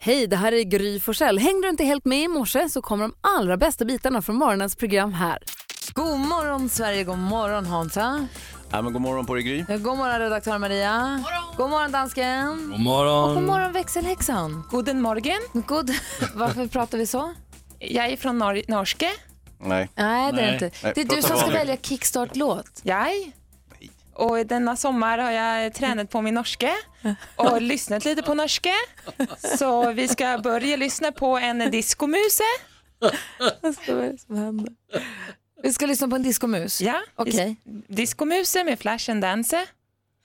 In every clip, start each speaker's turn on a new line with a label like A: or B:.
A: Hej, det här är Gry Forssell. Hängde du inte helt med i morse så kommer de allra bästa bitarna från morgonens program här.
B: God morgon Sverige, god morgon Hansa.
C: Ja, men god morgon på dig Gry.
B: God morgon redaktör Maria. Morgon. God morgon dansken.
C: God morgon.
B: Och god morgon växelhäxan.
D: Guten Morgen.
B: God... Varför pratar vi så?
D: Jag är från Nor Norske.
C: Nej.
B: Nej, det är inte.
C: Nej,
B: Det är du
C: prata
B: som ska
C: vanligt.
B: välja kickstart-låt.
D: Jag. Och denna sommar har jag tränat på min norske och lyssnat lite på norske. Så vi ska börja lyssna på en diskomuse.
B: Vad är det som händer? Vi ska lyssna på en diskomus.
D: Ja,
B: Okej.
D: diskomuse med Flash and Dance.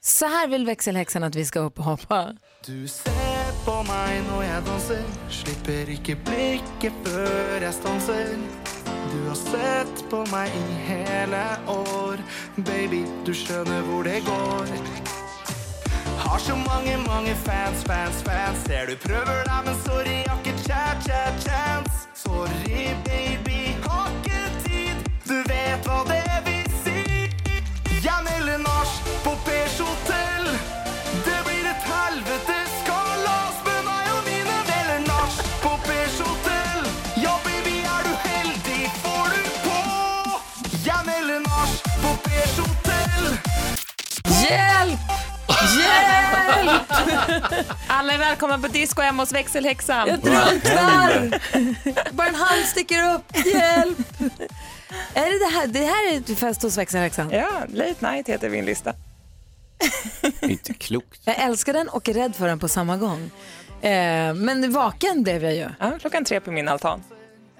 B: Så här vill växelhäxan att vi ska upp och hoppa.
E: Du ser på meg når jeg danser, slipper ikke blikket før jeg stanser. Du har sett på meg i hele år, baby, du skjønner hvor det går. Har så mange, mange fans, fans, fans. Ser du prøver deg, men sorry, har ikke chat, chat, chance. Sorry, baby, har ikke tid. Du vet hva det vil si. Jeg melder norsk på Pers hotell. Det blir et helvete kalas med meg og mine deler norsk på Pers hotell. Ja, baby, er du heldig, får du på. Jeg melder norsk på Pers hotell.
B: Hjälp! Hjälp!
D: Alla är välkomna på disco hemma hos växelhäxan.
B: Jag drunknar! Bara en hand sticker upp. Hjälp! Är det det här? Det här är fest hos växelhäxan.
D: Ja, Late Night heter min lista.
C: Inte klokt.
B: Jag älskar den och är rädd för den på samma gång. Eh, men vaken blev jag ju
D: Ja, klockan tre på min altan.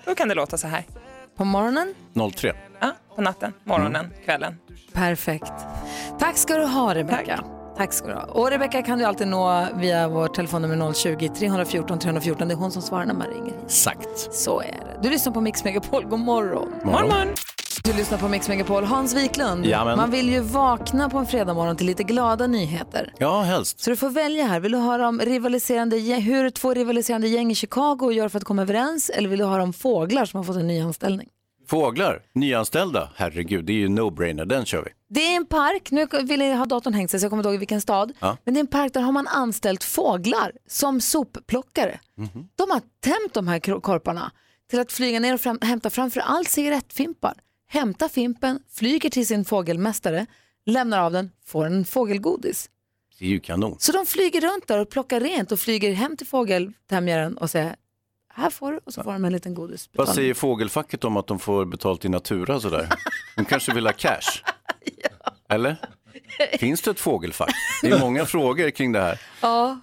D: Då kan det låta så här.
B: på morgonen.
C: 03.
D: Ja, på natten, morgonen, kvällen.
B: Perfekt. Tack ska du ha, Rebecka. Tack. ska du ha. Och Rebecka kan du alltid nå via vårt telefonnummer 020-314 314. Det är hon som svarar när man ringer.
C: Exakt.
B: Så är det. Du lyssnar på Mix Megapol. God morgon.
D: Morgon, morgon.
B: Du lyssnar på Mix Megapol. Hans Wiklund,
C: Jajamän.
B: man vill ju vakna på en fredagmorgon till lite glada nyheter.
C: Ja, helst.
B: Så du får välja här. Vill du höra om rivaliserande, gäng- hur två rivaliserande gäng i Chicago gör för att komma överens eller vill du höra om fåglar som har fått en ny anställning?
C: Fåglar, nyanställda. Herregud, det är ju no-brainer. Den kör vi.
B: Det är en park, nu ville jag ha datorn hängt sig så jag kommer inte ihåg i vilken stad,
C: Ja.
B: men det är en park där har man anställt fåglar som sopplockare. De har tämt de här kro- korparna till att flyga ner och fram, hämta framför allt cigarettfimpar. Hämtar fimpen, flyger till sin fågelmästare, lämnar av den, får en fågelgodis.
C: Det är ju kanon.
B: Så de flyger runt där och plockar rent och flyger hem till fågeltämjaren och säger här får du och så får de en liten godis.
C: Vad säger fågelfacket om att de får betalt i natura sådär? De kanske vill ha cash? Eller? Finns det ett fågelfack? Det är många frågor kring det här.
B: Ja.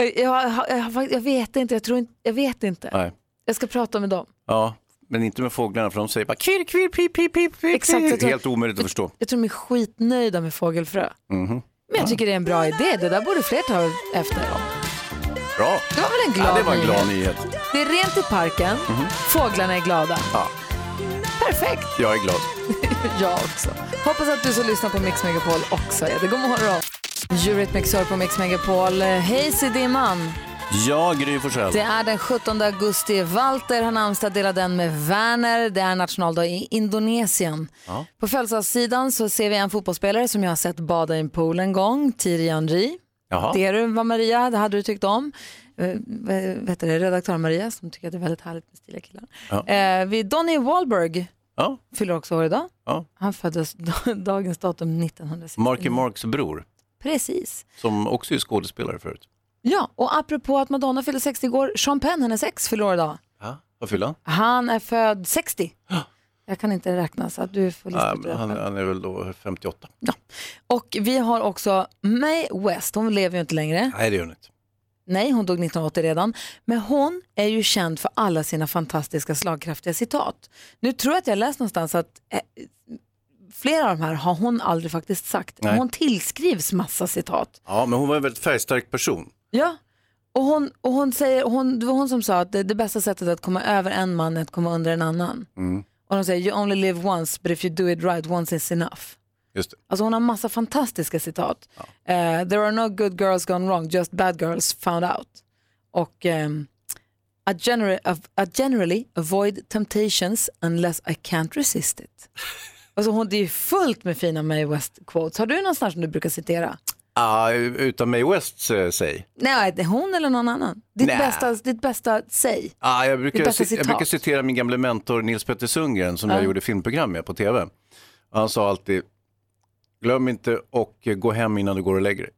B: Eh, Jag, jag, jag, jag vet inte, jag tror inte, jag vet inte.
C: Nej.
B: Jag ska prata med dem.
C: Ja, men inte med fåglarna för de säger bara kvirr, kvirr, pip, pip, pip, pip.
B: Exakt, jag tror-
C: Helt omöjligt att förstå.
B: Jag tror de är skitnöjda med fågelfrö.
C: Mhm.
B: Men jag tycker det är en bra idé. Det där borde fler ta efter.
C: Bra.
B: Det var väl en glad
C: Ja, det var en
B: nyhet?
C: glad nyhet.
B: Det är rent i parken, fåglarna är glada.
C: Ja.
B: Perfekt,
C: Jag är glad.
B: jag också. Hoppas att du som lyssnar på Mix Megapol också är det. God morgon. Eurythmics hör på Mix Megapol. Hej Sidimman!
C: Ja, Gry Forssell.
B: Det är den 17 augusti. Walter har namnsdag, dela den med Werner. Det är nationaldag i Indonesien. På födelsedagssidan så ser vi en fotbollsspelare som jag har sett bada i en pool en gång, Thierry Henry.
C: Jaha.
B: Det du var Maria, det hade du tyckt om. Eh, vad- Vet du, det, redaktör Maria som tycker att det är väldigt härligt med stiliga killar.
C: Ja.
B: Eh, vi, Donny Wahlberg
C: Ja,
B: fyller också år idag.
C: ja.
B: Han föddes dagens datum 1960.
C: Marky Marks bror,
B: Precis.
C: som också är skådespelare förut.
B: Ja, och apropå att Madonna fyllde 60 igår, Sean Penn, hennes ex, fyller år idag.
C: Ja. Vad fyller han?
B: Han är född 60. Jag kan inte räkna så att du får lista ut
C: Ja,
B: det
C: men han,
B: själv.
C: han är väl då 58.
B: Och vi har också Mae West, hon lever ju inte längre.
C: Nej, det gör han inte.
B: Nej, hon dog 1980 redan. Men hon är ju känd för alla sina fantastiska slagkraftiga citat. Nu tror jag att jag läst någonstans att eh, flera av de här har hon aldrig faktiskt sagt.
C: Nej.
B: Hon tillskrivs massa citat.
C: Ja, men hon var en väldigt färgstark person.
B: Ja, och hon, och hon säger, hon, det var hon som sa att det, det bästa sättet att komma över en man är att komma under en annan. Och de säger, you only live once but if you do it right once is enough.
C: Just det.
B: Alltså hon har massa fantastiska citat. Eh, There are no good girls gone wrong, just bad girls found out. Och ehm, I, genera- I generally avoid temptations unless I can't resist it. Alltså hon, det är ju fullt med fina Mae West-quotes. Har du någonstans som du brukar citera?
C: Ah, utan Mae West, eh, säg.
F: Nej, det är hon eller någon annan. Ditt,
C: Nej.
F: bästa, ditt bästa säg.
C: Ah, jag,
F: Det
C: brukar,
F: är bästa
C: jag
F: citat.
C: brukar citera min gamle mentor Nils Petter Sundgren som jag gjorde filmprogram med på tv. Och han sa alltid, glöm inte och eh, gå hem innan du går och lägger dig.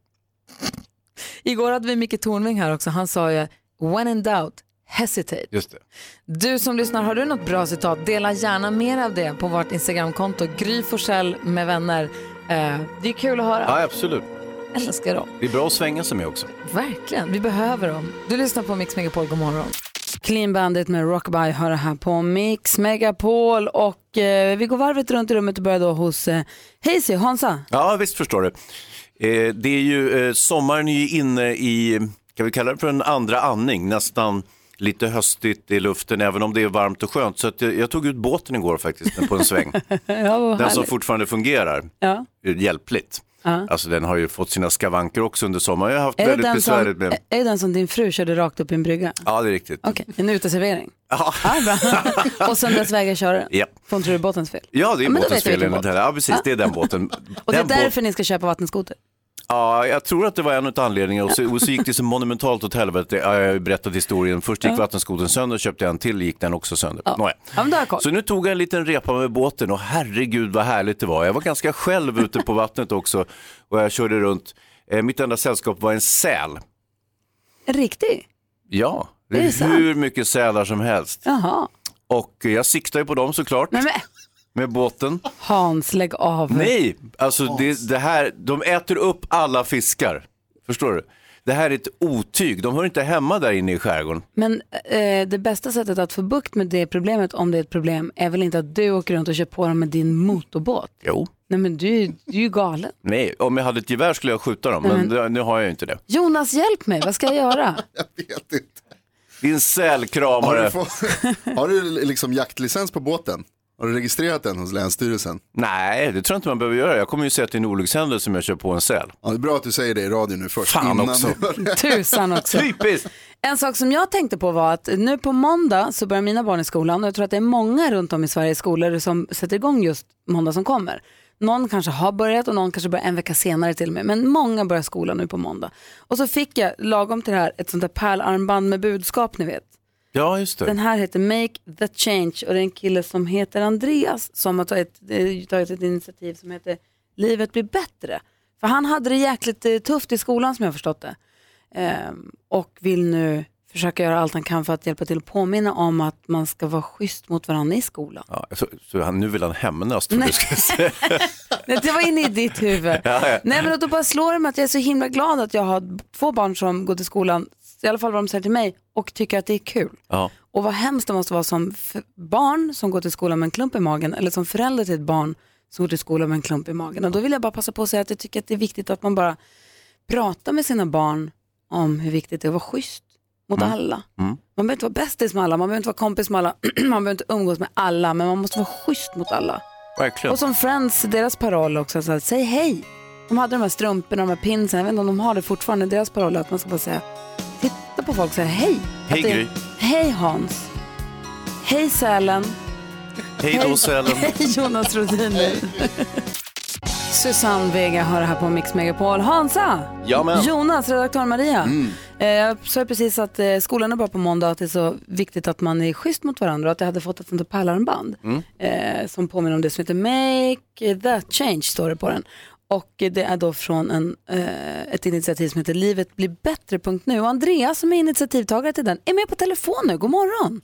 F: Igår hade vi Micke Tornving här också. Han sa ju, when in doubt, hesitate.
C: Just det.
F: Du som lyssnar, har du något bra citat? Dela gärna mer av det på vårt Instagramkonto, Gry Forssell med vänner. Eh, det är kul att höra.
C: Ja, absolut.
F: Jag älskar dem.
C: Det är bra att svänga sig med också.
F: Verkligen, vi behöver dem. Du lyssnar på Mix Megapol, god morgon.
B: Clean Bandit med Rockabye hör det här på Mix Megapol och eh, vi går varvet runt i rummet och börjar då hos eh, Hazy, Hansa.
C: Ja, visst förstår du. Eh, det är ju, eh, sommaren är ju inne i, kan vi kalla det för en andra andning, nästan lite höstigt i luften, även om det är varmt och skönt. Så att jag, jag tog ut båten igår faktiskt på en sväng.
B: Ja, vad
C: Den
B: härligt.
C: som fortfarande fungerar
B: Ja.
C: eh, hjälpligt. Alltså den har ju fått sina skavanker också under sommaren. Jag har haft
B: Är, det
C: väldigt
B: den som, Eh.
C: besvärligt med...
B: är är det den som din fru körde rakt upp i en brygga?
C: Ja, det är riktigt.
B: Okej, en uteservering.
C: Ja.
B: Ja, bra. och sen dess vägrar köra den?
C: Ja.
B: För hon tror det är båtens fel?
C: Ja, det är
B: men då
C: båtens
B: vet jag
C: fel
B: vilken
C: enligt
B: båt.
C: henne. Ja, precis, det är den båten.
B: Och det är
C: den båten-
B: därför ni ska köpa vattenskoter?
C: Ja, jag tror att det var en av anledningarna och så, och så gick det så monumentalt åt helvete. Ja, jag har ju berättat historien. Först gick vattenskotern sönder, köpte jag en till, gick den också sönder. Nåja.
B: Ja, men då har jag koll.
C: Så nu tog jag en liten repa med båten och herregud vad härligt det var. Jag var ganska själv ute på vattnet också och jag körde runt. Eh, mitt enda sällskap var en säl.
B: En Riktig?
C: Ja,
B: Det är sant.
C: hur mycket sälar som helst.
B: Jaha.
C: Och jag siktade ju på dem såklart
B: Nej, men
C: med båten.
B: Hans, lägg av.
C: Nej, alltså det, det här, de äter upp alla fiskar. Förstår du? Det här är ett otyg, de hör inte hemma där inne i skärgården.
B: Men eh, det bästa sättet att få bukt med det problemet, om det är ett problem, är väl inte att du åker runt och kör på dem med din motorbåt?
C: Jo.
B: Nej men du, är- du är ju galen.
C: Nej, om jag hade ett gevär skulle jag skjuta dem,
B: Mm.
C: men det, nu har jag ju inte det.
B: Jonas, hjälp mig, vad ska jag göra?
G: vet inte.
C: Din
G: Har du,
C: sälkramare.
G: fått- har du liksom jaktlicens på båten? Har du registrerat den hos Länsstyrelsen?
C: Nej, det tror jag inte man behöver göra. Jag kommer ju säga att det är en olyckshändelse om jag kör på en säl.
G: Ja, det är bra att du säger det i radio nu först.
C: Fan
G: innan
C: också.
G: du-
B: Tusan också.
C: Typiskt!
B: En sak som jag tänkte på var att nu på måndag så börjar mina barn i skolan och jag tror att det är många runt om i Sveriges skolor som sätter igång just måndag som kommer. Någon kanske har börjat och någon kanske börjar en vecka senare till och med. Men många börjar skolan nu på måndag. Och så fick jag lagom till det här ett sånt där pärlarmband med budskap ni vet.
C: Ja, just det.
B: Den här heter Make the Change och det är en kille som heter Andreas som har tagit, eh, tagit ett initiativ som heter Livet blir bättre. För han hade det jäkligt eh, tufft i skolan som jag har förstått det. Ehm, och vill nu försöka göra allt han kan för att hjälpa till att påminna om att man ska vara schysst mot varandra i skolan.
C: Ja, så, så han, nu vill han hämnas, tror
B: Nej.
C: du ska säga.
B: Nej, det var inne i ditt huvud. Nej men då bara slår det mig att jag är så himla glad att jag har två barn som går till skolan, i alla fall vad de säger till mig, och tycker att det är kul.
C: Ja.
B: Och vad hemskt det måste vara som f- barn som går till skolan med en klump i magen eller som förälder till ett barn som går till skolan med en klump i magen. Och då vill jag bara passa på att säga att jag tycker att det är viktigt att man bara pratar med sina barn om hur viktigt det är att vara schysst mot alla. Man behöver inte vara bästis med alla, man behöver inte vara kompis med alla, man behöver inte umgås med alla, men man måste vara schysst mot alla.
C: Verkligen.
B: Och som Friends, deras paroll också, så här, säg hej. De hade de här strumporna, de här pinsen, jag vet inte om de har det fortfarande, deras paroll är att man ska bara säga, titta på folk och säga hej.
C: Hej,
B: Att det är-
C: Gry.
B: Hej Hans. Hej sälen.
C: Hej då, sälen.
B: Hej Jonas Rhodiner. Susanne Vega hör här på Mix Megapol. Hansa!
C: Jamen.
B: Jonas, redaktör Maria. Eh, jag sa ju precis att eh, skolan är bara på måndag och att det är så viktigt att man är schysst mot varandra och att jag hade fått ett sånt där pärlarmband eh, som påminner om det som heter Make that change står det på den. Och eh, det är då från en, eh, ett initiativ som heter Livet blir bättre.nu och Andreas som är initiativtagare till den är med på telefon nu. God morgon!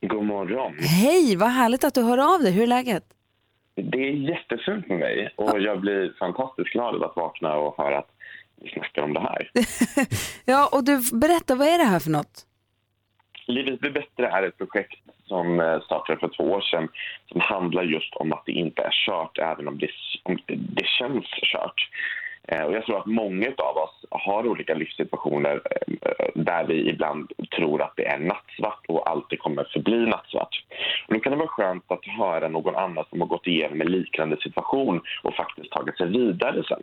H: God morgon.
B: Hej, vad härligt att du hör av dig. Hur är läget?
H: Det är jättefint med mig och jag blir fantastiskt glad av att vakna och höra att vi snackar om det här.
B: Ja, och du, berätta, vad är det här för något?
H: Livet blir bättre är ett projekt som eh, startade för två år sedan som handlar just om att det inte är kört även om det, om det känns kört. Eh, Och jag tror att många av oss har olika livssituationer eh, där vi ibland tror att det är nattsvart och alltid kommer förbli nattsvart. Och då kan det vara skönt att höra någon annan som har gått igenom en liknande situation och faktiskt tagit sig vidare sen.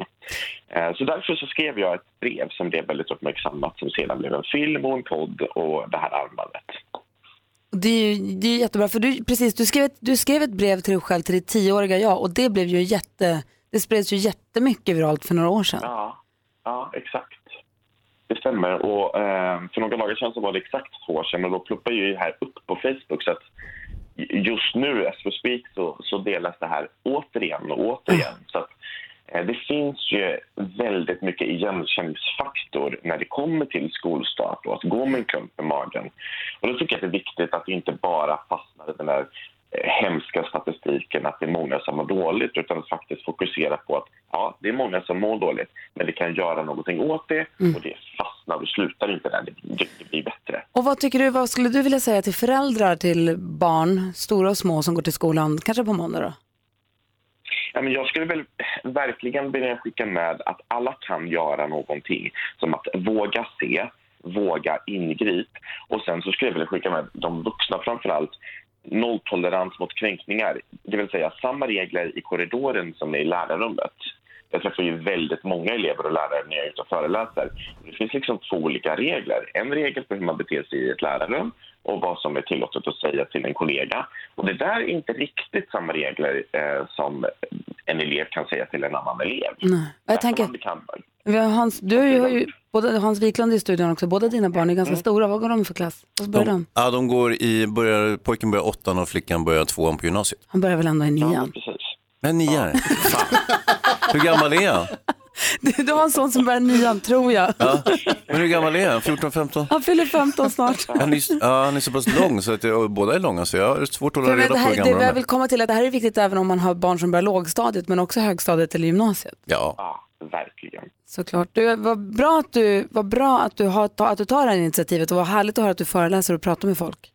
H: Eh, Så därför så skrev jag ett brev som blev väldigt uppmärksammat som sedan blev en film och en podd och det här armbandet.
B: Och Det är ju det är ju jättebra, för du, precis, du, skrev ett, du skrev ett brev till dig själv, till ditt tioåriga jag och det blev ju jätte, det spreds ju jättemycket viralt för några år sedan.
H: Ja. Ja, exakt. Det stämmer. Och, eh, för några dagar sedan så var det exakt två år sedan och då pluppade ju det här upp på Facebook. Så att just nu, as we speak, så, så delas det här återigen och återigen. Så att, eh, det finns ju väldigt mycket igenkänningsfaktor när det kommer till skolstart och att gå med en klump i magen. Och då tycker jag att det är viktigt att det inte bara fastnar i den där eh, hemska statistiken att det är många som mår dåligt utan att faktiskt fokusera på att ja, det är många som mår dåligt men vi kan göra någonting åt det och det fastnar och slutar inte där, det, det, det blir bättre.
B: Och vad tycker du, vad skulle du vilja säga till föräldrar till barn, stora och små, som går till skolan, kanske på måndag då?
H: Ja, men jag skulle väl verkligen vilja skicka med att alla kan göra någonting. Som att våga se, våga ingrip. Och sen så skulle jag vilja skicka med de vuxna framför allt nolltolerans mot kränkningar. Det vill säga samma regler i korridoren som i lärarrummet. Jag träffar ju väldigt många elever och lärare när jag är ute och föreläser. Det finns liksom två olika regler. En regel för hur man beter sig i ett lärarrum och vad som är tillåtet att säga till en kollega. Och det där är inte riktigt samma regler eh, som en elev kan säga till en annan elev.
B: Nej.
H: Där
B: Mm. Jag
H: kan
B: tänker,
H: man bli kallad.
B: vi har Hans, du har ju, har ju både Hans Wiklund i studion också, båda dina barn är ganska stora, vad går de för klass? Och så börjar de,
C: ja, de går i, börjar, pojken börjar åttan och flickan börjar tvåan på gymnasiet.
B: han börjar väl ändå i
H: Ja,
B: nian?
H: precis.
C: Men nian, fan. Hur gammal är han?
B: Du, du har en son som börjar i nian, tror jag.
C: Ja. Men hur gammal är han? 14, 15?
B: Han fyller 15 snart.
C: Han är, ja, han är så pass lång, så att, det- och båda är långa, så jag har svårt att
B: För
C: hålla
B: jag menar, det,
C: reda på hur
B: här, det
C: gamla de
B: jag
C: är.
B: vill komma till är att det här är viktigt även om man har barn som börjar lågstadiet men också högstadiet eller gymnasiet.
C: Ja.
H: Ja, verkligen.
B: Såklart. Du, vad bra att du, vad bra att du, har, ta- att du tar det här initiativet och vad härligt att höra att du föreläser och pratar med folk.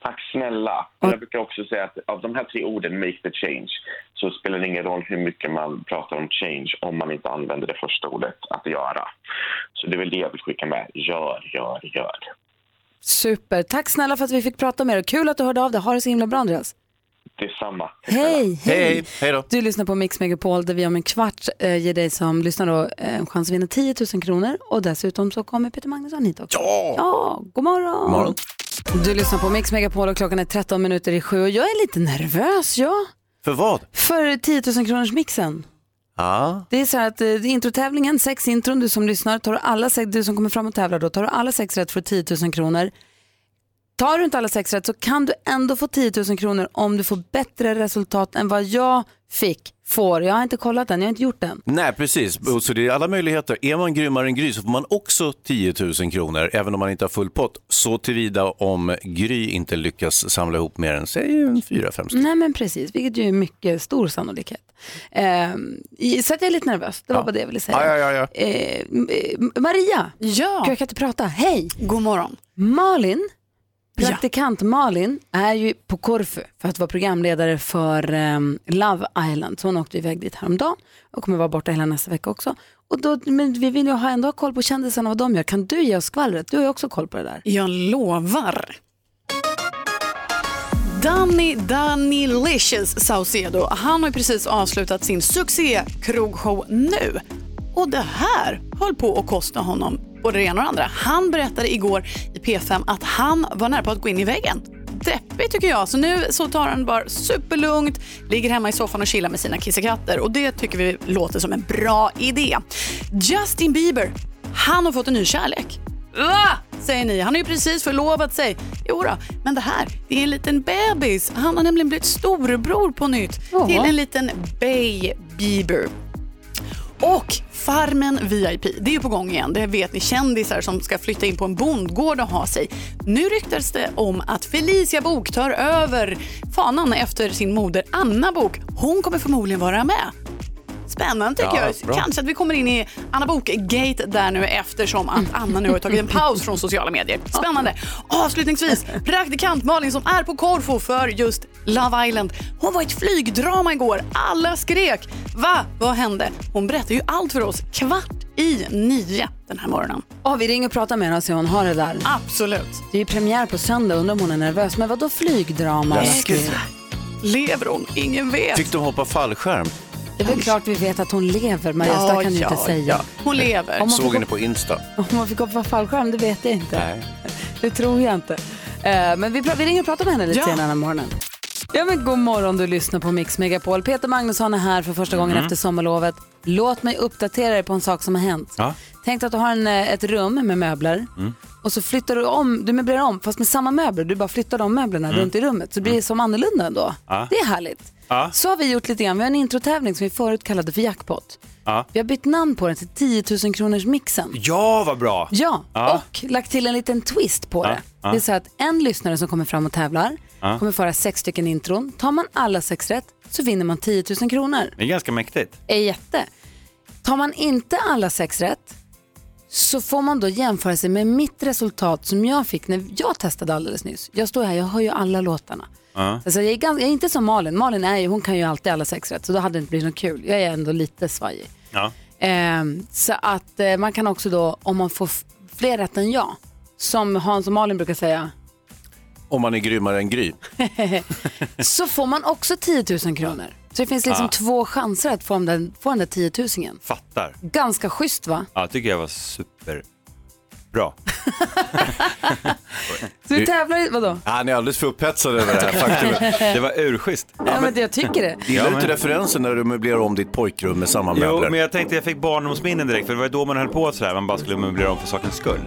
H: Tack snälla. Och jag brukar också säga att av de här tre orden, make the change, så spelar det ingen roll hur mycket man pratar om change om man inte använder det första ordet, att göra. Så det är väl det jag vill skicka med. Gör, gör, gör.
B: Super. Tack snälla för att vi fick prata med dig. Kul att du hörde av dig. Ha det så himla bra Andreas.
H: Detsamma.
B: Hej, hej.
C: Hej, hej då.
B: Du lyssnar på Mix Megapol där vi om en kvart eh, ger dig som lyssnar då, eh, en chans att vinna 10 000 kronor och dessutom så kommer Peter Magnusson hit också. Ja! Ja, god morgon. god
C: morgon.
B: Du lyssnar på Mix Megapol och klockan är 13 minuter i sju och jag är lite nervös jag.
C: För vad?
B: För 10 000 kronors mixen.
C: Ja,
B: Det är så här att eh, introtävlingen, sex intron, du som lyssnar, tar du alla sex, du som kommer fram och tävlar då, tar du alla sex rätt får du 10 000 kronor. Tar du inte alla sex rätt så kan du ändå få 10 000 kronor om du får bättre resultat än vad jag fick, får. Jag har inte kollat den, jag har inte gjort den.
C: nej precis. Och Så det är alla möjligheter. Är man grymmare än Gry så får man också 10 000 kronor, även om man inte har full pott. Så tillvida om Gry inte lyckas samla ihop mer än, säg en fyra, fem stycken.
B: Nej men precis, vilket ju är mycket stor sannolikhet. Ehm, i- så att jag är lite nervös, det var bara det jag ville säga.
C: Ja, ja, ja, ja.
B: Eh, m- eh, Maria, Gud,
I: Ja,
B: jag kan inte prata, hej!
I: god morgon.
B: Malin, praktikant Malin, är ju på Korfu för att vara programledare för ehm, Love Island. Så hon åkte iväg dit häromdagen och kommer vara borta hela nästa vecka också. Och då, men vi vill ju ha ändå ha koll på kändisarna och vad de gör. Kan du ge oss skvallret? Du har ju också koll på det där.
I: Jag lovar. Danny Danny Licious Saucedo, han har ju precis avslutat sin succé krogshow nu. Och det här höll på att kosta honom både det ena och det andra. Han berättade igår i P5 att han var nära på att gå in i väggen. Deppigt tycker jag. Så nu så tar han det bara superlugnt, ligger hemma i soffan och chillar med sina kissekatter. Och det tycker vi låter som en bra idé. Justin Bieber, han har fått en ny kärlek. Va? Säger ni. Han har ju precis förlovat sig. Jo då, men det här, det är en liten bebis. Han har nämligen blivit storebror på nytt till en liten Bay Bieber. Och Farmen VIP, det är ju på gång igen. Det vet ni, kändisar som ska flytta in på en bondgård och ha sig. Nu ryktas det om att Felicia Bok tar över fanan efter sin moder Anna Bok. Hon kommer förmodligen vara med. Spännande tycker
C: Ja,
I: jag.
C: bra.
I: Kanske att vi kommer in i Anna Bok-gate där nu eftersom
C: Mm.
I: att Anna nu har tagit en paus från sociala medier. Spännande. Avslutningsvis, praktikant Malin som är på Korfu för just Love Island. Hon var i ett flygdrama igår. Alla skrek. Va? Vad hände? Hon berättar ju allt för oss kvart i nio den här morgonen.
B: Ja, vi ringer och pratar med henne och ser om hon har det där.
I: Absolut.
B: Det är ju premiär på söndag, undrar om hon är nervös. Men vad då flygdrama?
I: Exakt. Lever hon? Ingen vet.
C: Fick de hoppa fallskärm?
B: Det är väl klart vi vet att hon lever, Maria. så där kan du inte säga.
I: Hon lever.
B: Om hon
C: Såg
B: får
C: henne på Insta.
B: Om man fick hoppa fallskärm, det vet jag inte.
C: Nej.
B: Det tror jag inte. Eh, Men vi, pra- vi ringer och pratar med henne lite
I: Ja.
B: senare den här morgonen. Ja, men god morgon, du lyssnar på Mix Megapol. Peter Magnusson är här för första gången
C: Mm.
B: efter sommarlovet. Låt mig uppdatera dig på en sak som har hänt.
C: Ja. Mm.
B: Tänk dig att du har en, eh, ett rum med möbler och så flyttar du om, du möblerar om fast med samma möbler, du bara flyttar de möblerna runt i rummet så det blir som annorlunda ändå.
C: Mm. Ja.
B: Det är härligt.
C: Ja.
B: Så har vi gjort lite grann, vi har en introtävling som vi förut kallade för jackpot.
C: Ja.
B: Vi har bytt namn på den till 10 000 kronors mixen.
C: Ja, vad bra.
B: Ja,
C: Ja.
B: och lagt till en liten twist på det.
C: ja.
B: Det är så att en lyssnare som kommer fram och tävlar kommer föra sex stycken intron. Tar man alla sex rätt så vinner man 10 000 kronor.
C: Det är ganska mäktigt.
B: Är jätte. Tar man inte alla sex rätt så får man då jämföra sig med mitt resultat som jag fick när jag testade alldeles nyss. Jag står här, jag hör ju alla låtarna. Alltså jag, är ganska, jag är inte som Malin. Malin är ju, hon kan ju alltid alla sex rätt så då hade det inte blivit något kul. Jag är ändå lite svajig.
C: Ja.
B: Ehm, så att eh, man kan också då, om man får f- fler rätt än jag, som Hans och Malin brukar säga,
C: Om man är grymmare än Gry.
B: så får man också 10 000 kronor. Så det finns liksom
J: Ah.
B: två chanser att få den, där- få den där 10 000.
J: Fattar.
B: Ganska schysst va?
J: Ja, tycker jag var
B: Eh.
J: superbra.
B: Så du tävlar i, vadå?
C: Han är alldeles för upphetsad över det här faktumet.
J: Det var urschysst.
B: Ja men det- jag tycker det.
C: Gillar
J: Ja,
C: du inte
J: men-
C: referensen när du möblerar om ditt pojkrum med samma
J: Jo,
C: möbler?
J: men jag tänkte jag fick barndomsminnen direkt, för det var ju då man höll på sådär, man bara skulle möblera om för sakens skull.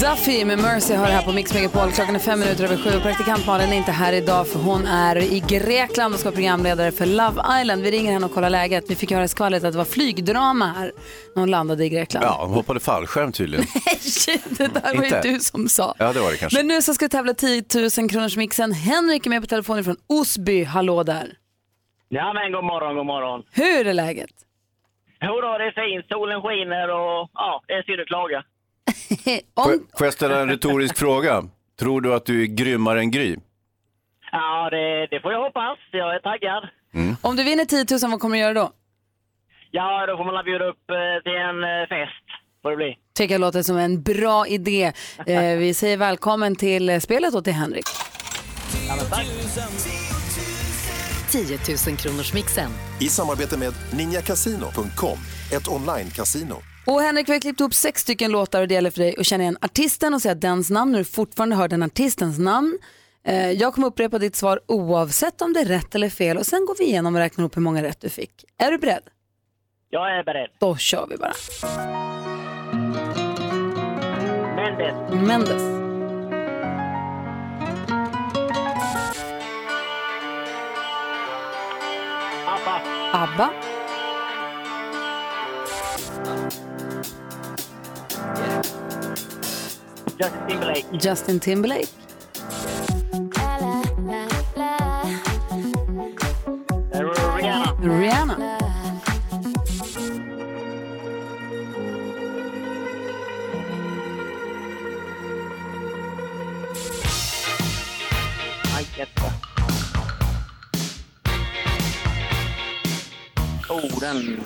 B: Duffy med Mercy har det här på Mix Megapol. Klockan är fem minuter över sju. Praktikant Malin är inte här idag för hon är i Grekland och ska vara programledare för Love Island. Vi ringer henne och kollar läget. Vi fick höra skvallret att det var flygdrama här när hon landade i Grekland.
C: Ja, hon hoppade fallskärm tydligen.
B: Shit, det där var
C: Inte?
B: ju du som sa.
C: Ja, det var det kanske.
B: Men nu så ska vi tävla 10 000 kronors mixen. Henrik är med på telefonen från Osby. Hallå där.
K: Ja men god morgon, god morgon.
B: Hur är läget?
K: Hurra, det är fint. Solen skiner och ja, det är synd att klaga.
C: Får jag-
B: Om,
C: får jag ställa en retorisk fråga? Tror du att du är grymmare än Gry?
K: Ja, det, det får jag hoppas. Jag är taggad.
B: om du vinner 10 000, vad kommer du göra då?
K: Ja, då får man la bjuda upp eh, till en eh, fest. Får det bli.
B: Tycker jag låter som en bra idé. Eh, vi säger välkommen till eh, spelet och till Henrik.
L: 10 000 kronors mixen.
M: I samarbete med ninjakasino.com, ett online-casino.
B: Och Henrik, vi har klippt ihop sex stycken låtar och det gäller för dig att känna igen artisten och säga dens namn när du fortfarande hör den artistens namn. Eh, Jag kommer upprepa ditt svar oavsett om det är rätt eller fel och sen går vi igenom och räknar upp hur många rätt du fick. Är du beredd?
K: Jag är beredd.
B: Då kör vi bara.
K: Mendes,
B: Mendes,
K: ABBA,
B: ABBA,
K: Justin Timberlake,
B: Justin Timberlake,
K: eh, Rihanna,
B: Rihanna,
K: Aj, jätte. Oh, den...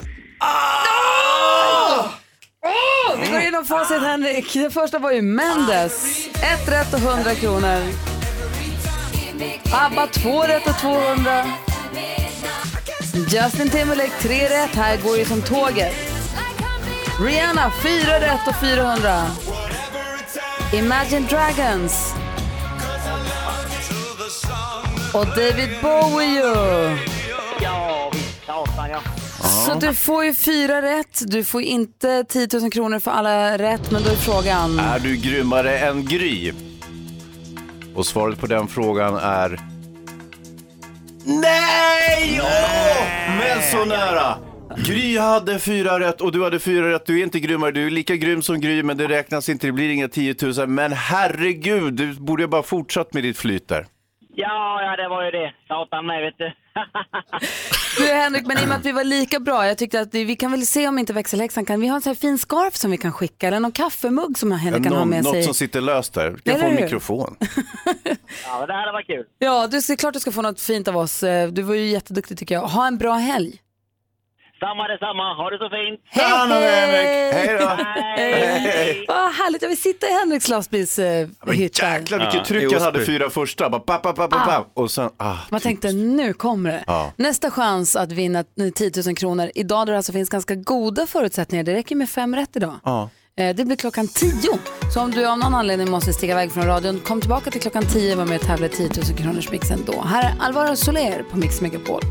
B: Vi går igenom facit Henrik. Det första var ju Mendes. Ett rätt och 100 kronor. ABBA två rätt och 200. Justin Timberlake tre rätt. Här går ju som tåget. Rihanna fyra rätt och 400. Imagine Dragons. Och David Bowie ju.
K: Ja, visst. Satan, ja.
B: Så du får ju fyra rätt. Du får inte 10 000 kronor för alla rätt, men då är frågan.
C: Är du grymmare än Gry? Och svaret på den frågan är... Nej! Åh! Men så nära! Gry hade fyra rätt och du hade fyra rätt. Du är inte grymmare, du är lika grym som Gry men det räknas inte, det blir inga 10 000. Men herregud, du borde ju bara fortsatt med ditt flyt där.
K: Ja, ja, det var ju det. Satan med, vet du.
B: Du Henrik, men i och med att vi var lika bra, jag tyckte att vi, vi kan väl se om inte växelhäxan kan, vi har en sån här fin scarf som vi kan skicka eller någon kaffemugg som Henrik kan ha
C: Någon,
B: med
C: något
B: sig.
C: som sitter löst där. Du kan
B: Eller
C: få en
B: hur?
C: mikrofon.
K: Ja, men det hade varit kul.
B: Ja, du, det är klart du ska få något fint av oss. Eh, Du var ju jätteduktig tycker jag. Ha en bra helg.
K: Samma detsamma. Ha det så fint.
B: Hej,
C: Ta hand om dig, Henrik. Hej då!
K: Hej!
B: Vad härligt, jag vill sitta i Henriks
C: Men
B: lastbilshytt där.
C: jäklar vilket
J: Ja, i
C: tryck jag hade
J: Osby.
C: fyra första. Bara papp, papp, papp, papp, papp. Och sen, ah,
B: Man tänkte nu kommer det.
C: Ja.
B: Nästa chans att vinna 10 000 kronor. Idag där det alltså finns ganska goda förutsättningar, det räcker med fem rätt idag.
C: Ja.
B: Eh, Det blir klockan 10. Så om du av någon anledning måste sticka iväg från radion, kom tillbaka till klockan 10 och var med och tävla i 10 000 kronors mixen då. Här är Alvaro Soler på Mix Megapol.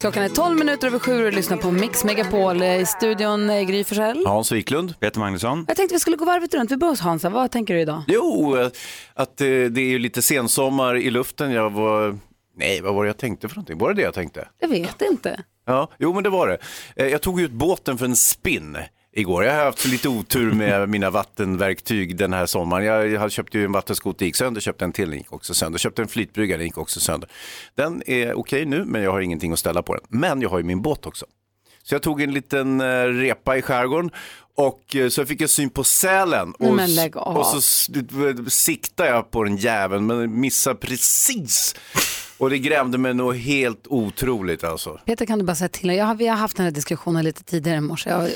B: Klockan är 12 minuter över sju och du lyssnar på Mix Megapol. Eh, I studion eh, Gry Forssell.
C: Hans Wiklund.
J: Peter Magnusson.
B: Jag tänkte vi skulle gå varvet runt. Vi börjar hos Hansa. Vad tänker du idag?
C: Jo, eh, att eh, det är ju lite sensommar i luften. Jag var... Nej, vad var det jag tänkte för någonting? Var det det jag tänkte?
B: Jag vet inte.
C: Ja, jo men det var det. Eh, Jag tog ut båten för en spinn igår. Jag har haft lite otur med mina vattenverktyg den här sommaren. Jag jag hade köpte ju en vattenskoter, gick sönder, köpte en till, den gick också sönder. Köpte en flytbrygga, den gick också sönder. Den är okej nu, men jag har ingenting att ställa på den. Men jag har ju min båt också. Så jag tog en liten eh, repa i skärgården och eh, så fick jag syn på sälen.
B: Nej,
C: och,
B: men lägg av.
C: och så s- siktade jag på den jäveln men missade precis. Och det grämde mig nog helt otroligt alltså.
B: Peter kan du bara säga till. Jag har, vi har haft den här diskussionen lite tidigare i morse. Jag,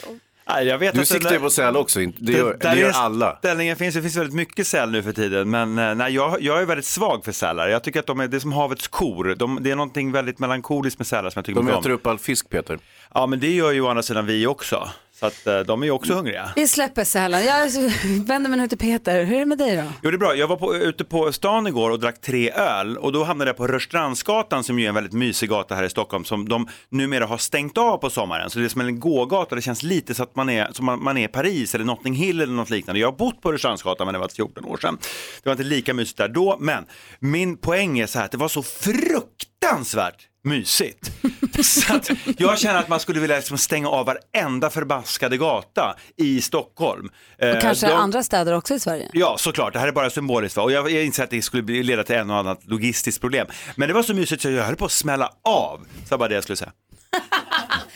J: Nej, jag vet
C: Du
J: att
C: siktar ju på säl också, inte- det gör- det
J: där
C: gör
J: är-
C: alla.
J: Ställningen finns, det finns väldigt mycket säl nu för tiden, men eh, nej, jag, jag är väldigt svag för sälar. Jag tycker att de är, det är som havets kor, de, det är någonting väldigt melankoliskt med sälar som jag tycker
C: De
J: mycket
C: äter upp all fisk Peter.
J: Ja, men det gör ju å andra sidan vi också, så att eh, de är ju också hungriga.
B: vi släpper sälen. Jag vänder mig nu till Peter. Hur är det med dig då?
J: Jo, det är bra. Jag var på, ute på stan igår och drack tre öl och då hamnade jag på Rörstrandsgatan som ju är en väldigt mysig gata här i Stockholm som de numera har stängt av på sommaren. Så det är som en gågata. Det känns lite så att man är, som man, man är i Paris eller Notting Hill eller något liknande. Jag har bott på Rörstrandsgatan men det var 14 år sedan. Det var inte lika mysigt där då, men min poäng är så här att det var så fruktansvärt mysigt. Så att jag känner att man skulle vilja liksom stänga av varenda förbaskade gata i Stockholm. Eh,
B: Och kanske
J: de-
B: andra städer också i Sverige.
J: Ja, såklart. Det här är bara symboliskt. va? Och jag, jag inser att det skulle bli- leda till en och annan logistiskt problem. Men det var så mysigt så jag höll på att smälla av. Så det var det jag skulle säga.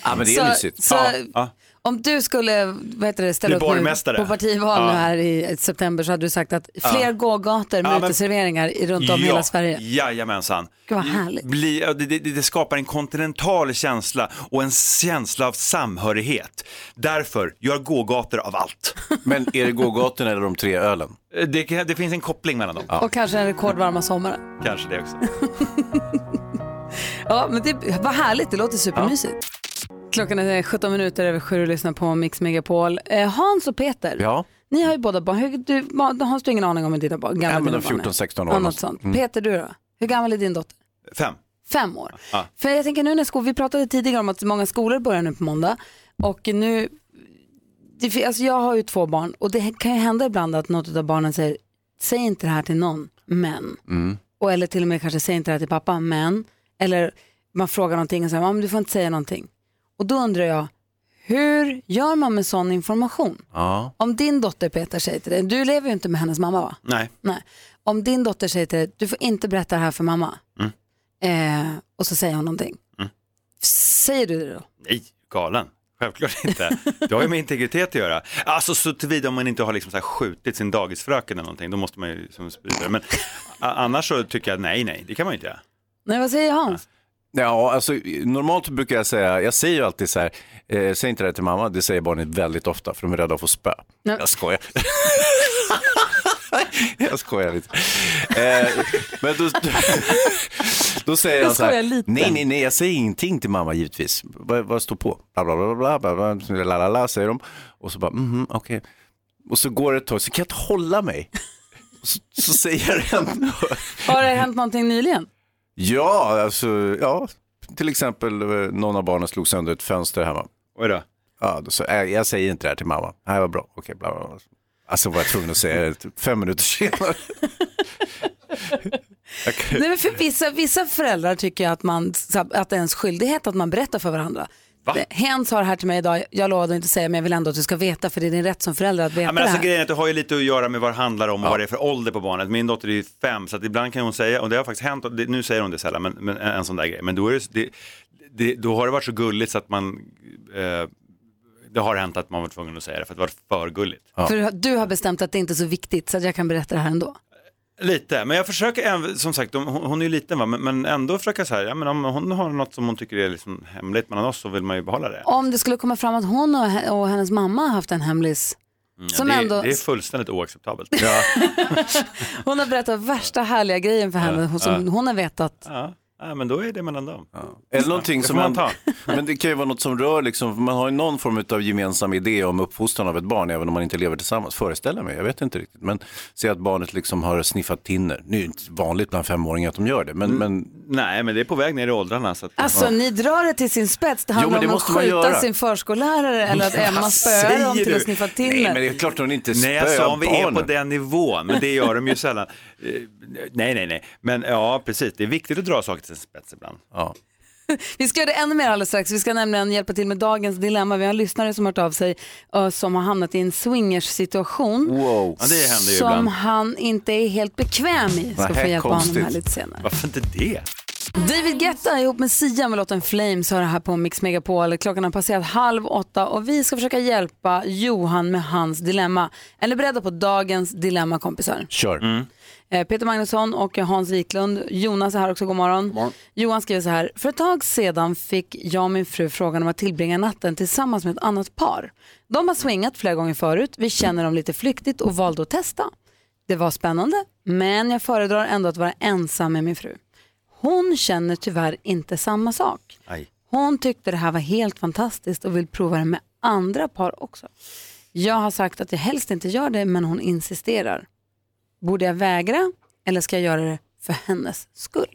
C: ja,
B: men det är Så- mysigt. så-
J: ja, ja.
B: Om du skulle vad heter det, ställa
J: Bli
B: upp nu
J: borgmästare.
B: på partival
J: Ja.
B: nu här i september så hade du sagt att fler
J: Ja.
B: gågator med
J: Ja, men-
B: uteserveringar i- runt om i
J: ja,
B: hela Sverige.
J: Jajamensan.
B: Gud vad härligt.
J: Bli, ja, det, det, det skapar en kontinental känsla och en känsla av samhörighet. Därför, gör gågator av allt. Eh,
C: Men är det gågatorna eller de tre ölen?
J: Det, kan- det finns en koppling mellan dem.
B: Och kanske den rekordvarma sommaren.
J: Kanske det också.
B: Ja, men det var härligt. Det låter supermysigt. Klockan är 17 minuter över sju och lyssnar på Mix Megapol. Eh, Hans och Peter,
C: Ja.
B: ni har ju båda barn. Hur, du, ma- Hans, du har ingen aning om hur dina barn, gamla
C: Ja, men
B: dina
C: de 14-16 år
B: barn är. Ja, något
C: någonstans.
B: sånt.
C: Mm.
B: Peter, du då? Hur gammal är din dotter?
J: Fem.
B: Fem år.
J: Ja.
B: För jag tänker nu när skol, vi pratade tidigare om att många skolor börjar nu på måndag och nu, det, fin- alltså jag har ju två barn och det kan ju hända ibland att något av barnen säger, säg inte det här till någon, men, och, eller till och med kanske säg inte det här till pappa, men, eller man frågar någonting och säger, "Ja, men du får inte säga någonting. Och då undrar jag, hur gör man med sån information?
C: Ja.
B: Om din dotter Peter säger till dig, du lever ju inte med hennes mamma va?
J: Nej.
B: Nej. Om din dotter säger till dig, du får inte berätta det här för mamma.
J: Mm.
B: Eh, och så säger hon någonting.
J: Mm.
B: Säger du det då?
J: Nej, galen. Självklart inte. Det har ju med integritet att göra. Alltså så tillvida om man inte har liksom så här skjutit sin dagisfröken eller någonting, då måste man ju liksom sprida det. Men a- annars så tycker jag nej, nej, det kan man ju inte göra.
B: Nej, vad säger Hans?
C: Ja, alltså normalt brukar jag säga, jag säger ju alltid så här, eh, säg inte det här till mamma, det säger barnet väldigt ofta för de är rädda att få spö.
B: Nej.
C: Jag skojar. jag skojar lite. Eh, men då, då säger
J: Jag
C: jag så här,
J: skojar lite.
C: nej, nej, nej, jag säger ingenting till mamma givetvis. Vad, vad står på? Bla, bla, bla, bla, bla, bla, bla, la, la, la, säger de. Och så bara, mhm, okej. Och så går det ett tag, så kan jag inte hålla mig. Så, så säger jag det ändå.
B: Har det hänt någonting nyligen?
C: Ja, alltså, ja. Till exempel eh, någon av barnen slog sönder ett fönster hemma.
J: Oj då.
C: Ja, då så, äh, jag säger inte det här till mamma. Det här var bra. Okej, bla, bla, bla. Alltså var jag tvungen att säga det typ fem minuter senare. Jag kan-
B: Nej, men för vissa, vissa föräldrar tycker ju att, man, att det är ens skyldighet att man berättar för varandra. Hens har det här till mig idag, jag lovade att inte säga men jag vill ändå att du ska veta för det är din rätt som förälder att veta
J: Ja, men alltså,
B: det här.
J: grejen är att det har ju lite att göra med vad det handlar om och vad det är för ålder på barnet. Min dotter är ju fem så att ibland kan hon säga, och det har faktiskt hänt, och det, nu säger hon det sällan, men, men en sån där grej. Men då, är det, det, det, då har det varit så gulligt så att man, eh, det har hänt att man var tvungen att säga det för att det var för gulligt.
B: För du har bestämt att det inte är så viktigt så att jag kan berätta det här ändå.
J: Lite, men jag försöker, även- som sagt, de- hon, hon är ju liten va, men, men ändå försöka så här, ja men om hon har något som hon tycker är liksom hemligt mellan oss så vill man ju behålla det.
B: Om det skulle komma fram att hon och, he- och hennes mamma har haft en hemlis
J: Mm,
B: som
J: det, är-
B: ändå-
J: det är fullständigt oacceptabelt. Ja.
B: Hon har berättat värsta härliga grejen för henne
J: Ja,
B: hon som
J: ja.
B: hon har vetat.
J: Ja, men då är det mellan dem.
C: Eller någonting
J: det
C: som
J: får
C: man,
J: man
C: men det kan ju vara något som rör, liksom, man har ju någon form av gemensam idé om uppfostran av ett barn, även om man inte lever tillsammans, föreställer mig, jag vet inte riktigt. Men se att barnet liksom har sniffat tinner, det är ju inte vanligt bland femåringar att de gör det, men, men...
J: Nej, men det är på väg ner i åldrarna. Så att...
B: Alltså ni drar det till sin spets. Det
C: Jo,
B: handlar
C: men det
B: om att
C: måste man
B: skjuta
C: göra.
B: sin förskollärare eller att Emma
C: Vad
B: spöar dem
J: säger
B: till att
J: du?
B: sniffa
C: Nej, men
B: thinner.
C: det är klart hon inte
J: Nej, jag sa om vi är på
C: barnen.
J: den nivån, men det gör de ju sällan. Eh, Nej, nej, nej, men ja, precis. Det är viktigt att dra saker till sin spets ibland.
C: Ja.
B: Vi ska göra det ännu mer alldeles strax. Vi ska nämligen hjälpa till med dagens dilemma. Vi har en lyssnare som har hört av sig eh, som har hamnat i en swingers-situation.
J: Wow. Ja, det händer ju
B: som
J: ibland.
B: han inte är helt bekväm i. Ska
J: Nähä,
B: få hjälpa honom
J: konstigt.
B: här lite senare.
J: Varför inte det?
B: David Guetta ihop med Sia med låten Flames har det här på Mix Megapol. Klockan har passerat halv åtta och vi ska försöka hjälpa Johan med hans dilemma. Är ni beredda på dagens dilemma kompisar?
C: Kör.
B: Eh, Peter Magnusson och Hans Wiklund. Jonas är här också, god morgon. Johan skriver så här. För ett tag sedan fick jag och min fru frågan om att tillbringa natten tillsammans med ett annat par. De har swingat flera gånger förut, vi känner dem lite flyktigt och valde att testa. Det var spännande, men jag föredrar ändå att vara ensam med min fru. Hon känner tyvärr inte samma sak.
J: Aj.
B: Hon tyckte det här var helt fantastiskt och vill prova det med andra par också. Jag har sagt att jag helst inte gör det, men hon insisterar. Borde jag vägra eller ska jag göra det för hennes skull?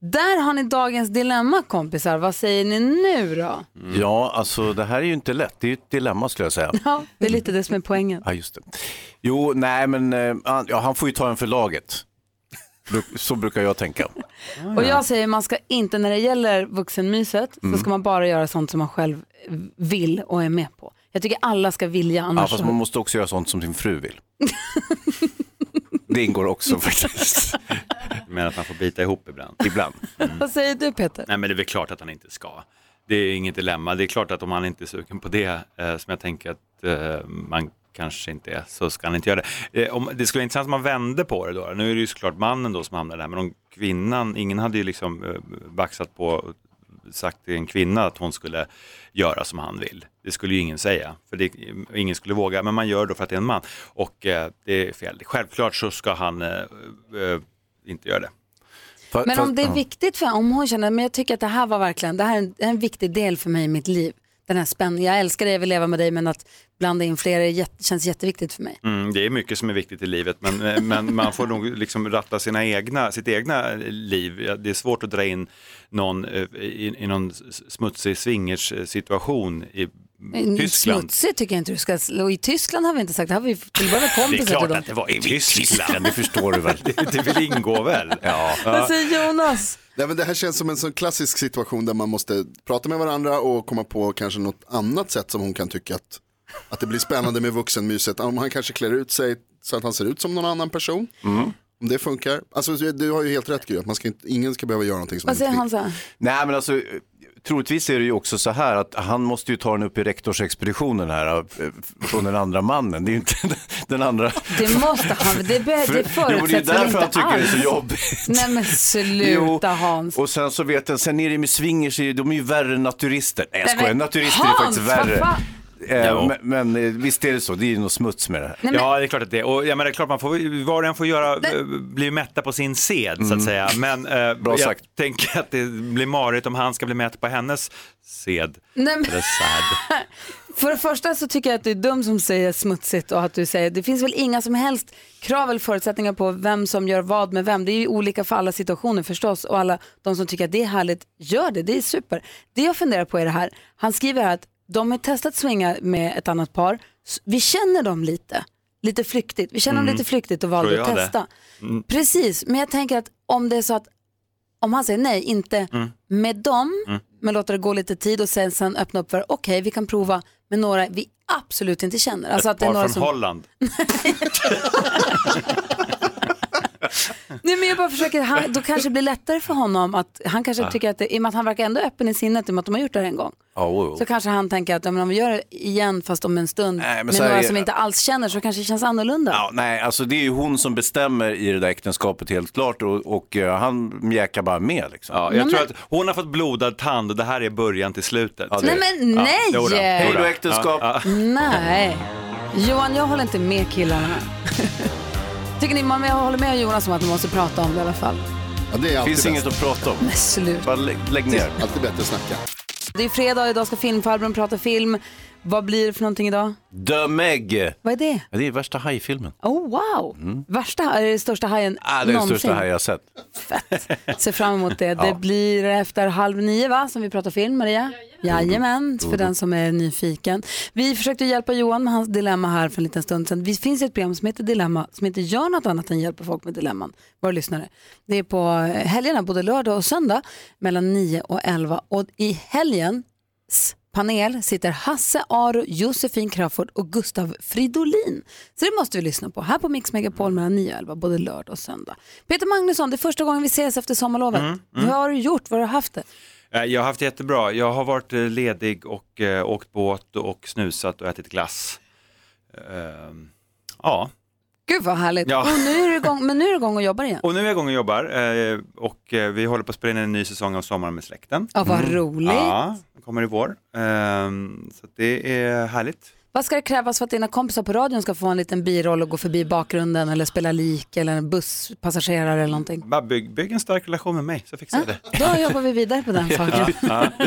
B: Där har ni dagens dilemma kompisar. Vad säger ni nu då?
C: Ja, alltså det här är ju inte lätt, det är ju ett dilemma skulle jag säga.
B: Ja, det är lite det som är poängen.
C: Ja, just det. Jo, nej, men eh, han, ja, han får ju ta en för laget. Bruk- Så brukar jag tänka.
B: Och jag säger man ska inte, när det gäller vuxenmyset, så
C: Mm.
B: ska man bara göra sånt som man själv vill och är med på. Jag tycker alla ska vilja
C: Ja,
B: annars.
C: fast man måste också göra sånt som sin fru vill. Det ingår också faktiskt.
J: Men att man får bita ihop ibland.
C: Ibland.
B: Vad säger du Peter?
J: Nej, men det är väl klart att han inte ska. Det är inget dilemma. Det är klart att om han inte är sugen på det, eh, som jag tänker att eh, man kanske inte är, så ska han inte göra det. Eh, om, det skulle vara intressant om man vände på det då. Nu är det ju såklart mannen då som hamnar där, men om kvinnan, ingen hade ju liksom eh, baxat på sagt till en kvinna att hon skulle göra som han vill. Det skulle ju ingen säga, för det, ingen skulle våga, men man gör då för att det är en man. Och eh, det är fel. Självklart så ska han eh, eh, inte göra det.
B: Men om det är viktigt för om hon känner, men jag tycker att det här var verkligen, det här är en, en viktig del för mig i mitt liv. Den här spänningen, jag älskar dig, jag vill leva med dig, men att blanda in fler är jätte, känns jätteviktigt för mig.
J: Mm, det är mycket som är viktigt i livet, men, eh, men man får nog liksom ratta sina egna, sitt egna liv. Ja, Det är svårt att dra in någon eh, i, i någon s- smutsig swingers-situation
B: Eh,
J: i
C: Mm.
J: Tyskland.
B: Smutsigt tycker jag inte du ska, och i Tyskland har vi inte sagt, det här var ju till och med
J: Det är
B: kompisar till
J: klart
B: dem.
J: att det var i Tyskland, det
C: förstår du väl?
J: det, det vill ingå väl? Ja.
B: Vad säger Jonas?
G: Nej, men det här känns som en sån klassisk situation där man måste prata med varandra och komma på kanske något annat sätt som hon kan tycka att, att det blir spännande med vuxenmyset. Om han kanske klär ut sig så att han ser ut som någon annan person.
C: Mm.
G: Om det funkar. Alltså, du har ju helt rätt Gry, att man ska inte, ingen ska behöva göra någonting som
B: Vad säger
G: inte vill.
B: Hansa?
C: Nej, men alltså, eh, troligtvis är det ju också så här att han måste ju ta den upp i rektorsexpeditionen här, eh, från den andra mannen. Det är ju inte den andra.
B: Det måste han, det, be,
C: För-
B: det
C: Jo, men
B: förutsätts
C: det är ju
B: väl inte alls?
C: därför han tycker det är så jobbigt.
B: Nej men sluta Hans.
C: Och sen så vet jag, sen är det med swingers, de är ju värre än naturister. Nej, jag
B: Nej,
C: skojar,
B: men
C: naturister
B: Hans,
C: är faktiskt
B: vad
C: värre.
B: fan?
C: Eh, men, men eh, visst är det så, det är ju något smuts med det här.
J: Ja, det är klart att det är. Och jag menar, det är klart man får, var och en får göra,
C: Nej.
J: eh, blir mätta på sin sed så att säga. Men eh, jag
C: sagt.
J: tänker att det blir marigt om han ska bli mätt på hennes sed.
B: Nej, men-
J: Eller sad.
B: För det första så tycker jag att du är dum som säger smutsigt och att du säger det finns väl inga som helst krav eller förutsättningar på vem som gör vad med vem. Det är ju olika för alla situationer förstås och alla de som tycker att det är härligt gör det, det är super. Det jag funderar på är det här, han skriver här att de har testat swinga med ett annat par, S- vi känner dem lite, lite flyktigt, vi känner dem
F: Mm.
B: lite flyktigt och
F: Tror
B: valde att
F: jag det.
B: testa.
F: Mm.
B: Precis, men jag tänker att om det är så att om han säger nej, inte
F: Mm.
B: med dem,
F: Mm.
B: men låter det gå lite tid och sen, sen öppna upp för okej, vi kan prova med några vi absolut inte känner. Alltså att
J: Ett
B: det är
J: par
B: några
J: från
B: som...
J: Holland.
B: Nej, men jag bara försöker, han, då kanske det blir lättare för honom att han kanske
C: Ja.
B: tycker att, det, i och med att han verkar ändå öppen i sinnet i och med att de har gjort det här en gång.
C: Ja, jo, jo.
B: Så kanske han tänker att ja, men om vi gör det igen fast om en stund
C: Oh. Nej, men
B: med
C: så här
B: några
C: är-
B: som vi inte alls känner så kanske det känns annorlunda.
C: Ja, nej, alltså det är ju hon som bestämmer i det där äktenskapet helt klart och, och eh, han mjäkar bara med liksom.
J: Ja, jag tror att hon har fått blodad tand och det här är början till slutet.
B: det är- Nej, men nej!
J: jodå, jodå.
B: Hej då,
J: Ja,
B: äktenskap.
J: ja.
B: Nej. Johan, jag håller inte med killarna. Tycker ni, men jag håller med Jonas om att man måste prata om det i alla fall.
G: det är alltid
C: finns
G: bäst.
C: inget att prata om.
B: Men slut.
C: Bara lägg, lägg ner.
G: Alltid bättre att snacka.
B: Det är fredag, idag ska filmfarbrorn prata film. Vad blir det för någonting idag?
C: The Meg. Ja,
B: Vad är det?
C: det är värsta hajfilmen.
B: Oh wow!
C: Mm.
B: Värsta, är det största hajen
C: Ah, det är den
B: någonsin?
C: största haj jag har sett.
B: Ser fram emot det. Det
C: Ja.
B: blir efter halv nio va, som vi pratar film Maria? Jajamän, för den som är nyfiken. Vi försökte hjälpa Johan med hans dilemma här för en liten stund sedan. Det finns ett program som heter Dilemma som inte gör något annat än hjälper folk med dilemman, våra lyssnare. Det är på helgerna, både lördag och söndag, mellan 9 och 11. Och i helgens panel sitter Hasse Aro, Josefin Crafoord och Gustav Fridolin. Så det måste vi lyssna på här på Mix Megapol mellan 9 och 11, både lördag och söndag. Peter Magnusson, det är första gången vi ses efter sommarlovet.
J: Mm, mm.
B: Hur har du gjort? Var har du haft det?
J: Eh, Jag har haft det jättebra. Jag har varit eh, ledig och eh, åkt båt och snusat och ätit glass. Ehm, ja,
B: Gud vad härligt.
J: Ja.
B: Och nu är du igång, men nu är du igång och jobbar igen.
J: och nu är jag igång och jobbar eh, och eh, vi håller på att spela in en ny säsong av Sommaren med släkten.
B: Ja, vad roligt.
J: Mm, Ja, den kommer i vår. Ehm, så att det är härligt.
B: Vad ska det krävas för att dina kompisar på radion ska få en liten biroll och gå förbi bakgrunden eller spela lik eller en busspassagerare eller någonting?
J: Bara bygg, bygg en stark relation med mig så fixar jag det.
B: Då jobbar vi vidare på den saken.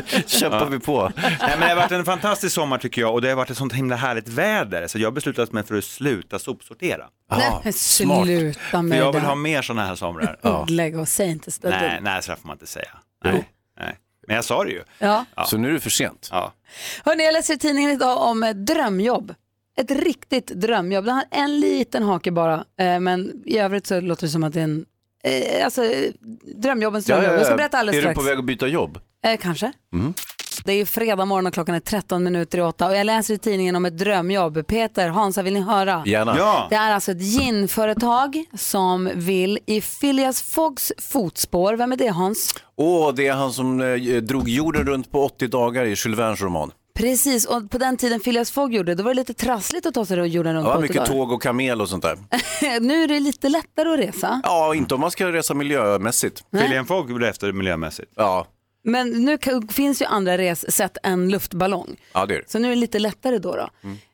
C: Kämpar vi på.
J: Nej, men det har varit en fantastisk sommar tycker jag och det har varit ett sånt himla härligt väder så jag har beslutat mig för att sluta sopsortera.
B: Nej, men sluta
J: För
B: med
J: jag
B: det
J: vill
B: där.
J: ha mer sådana här somrar.
C: Oh,
B: Lägg och säg inte så där
J: Nej,
B: dumt.
J: nej, så här får man inte säga. Nej, nej. Men jag sa det ju.
B: Ja.
C: Så nu är det för sent.
J: Ja.
B: Hörrni, jag läser i tidningen idag om ett drömjobb. Ett riktigt drömjobb. Den har en liten hake bara, eh, men i övrigt så låter det som att det är en... eh, Alltså, eh, drömjobbens drömjobb. Jag ska berätta alldeles
C: är
B: strax.
C: du på väg att byta jobb?
B: Eh, kanske.
C: Mm.
B: Det är ju fredag morgon och klockan är 13 minuter i åtta och jag läser i tidningen om ett drömjobb. Peter, Hansa, vill ni höra?
C: Gärna. Ja.
B: Det är alltså ett ginföretag som vill i Phileas Foggs fotspår. Vem är det Hans?
C: Åh, det är han som eh, drog jorden runt på 80 dagar i Jules Vernes roman.
B: Precis, och på den tiden Phileas Fogg gjorde det, då var det lite trassligt att ta sig runt jorden runt
C: Ja,
B: på
C: mycket
B: 80 dagar.
C: tåg och kamel och sånt där.
B: Nu är det lite lättare att resa.
C: Ja, inte om man ska resa miljömässigt.
B: Nej.
J: William Fogg blev efter miljömässigt.
C: Ja,
B: Men nu kan, finns ju andra ressätt än luftballong.
C: ja det är det.
B: Så nu är det lite lättare då. då.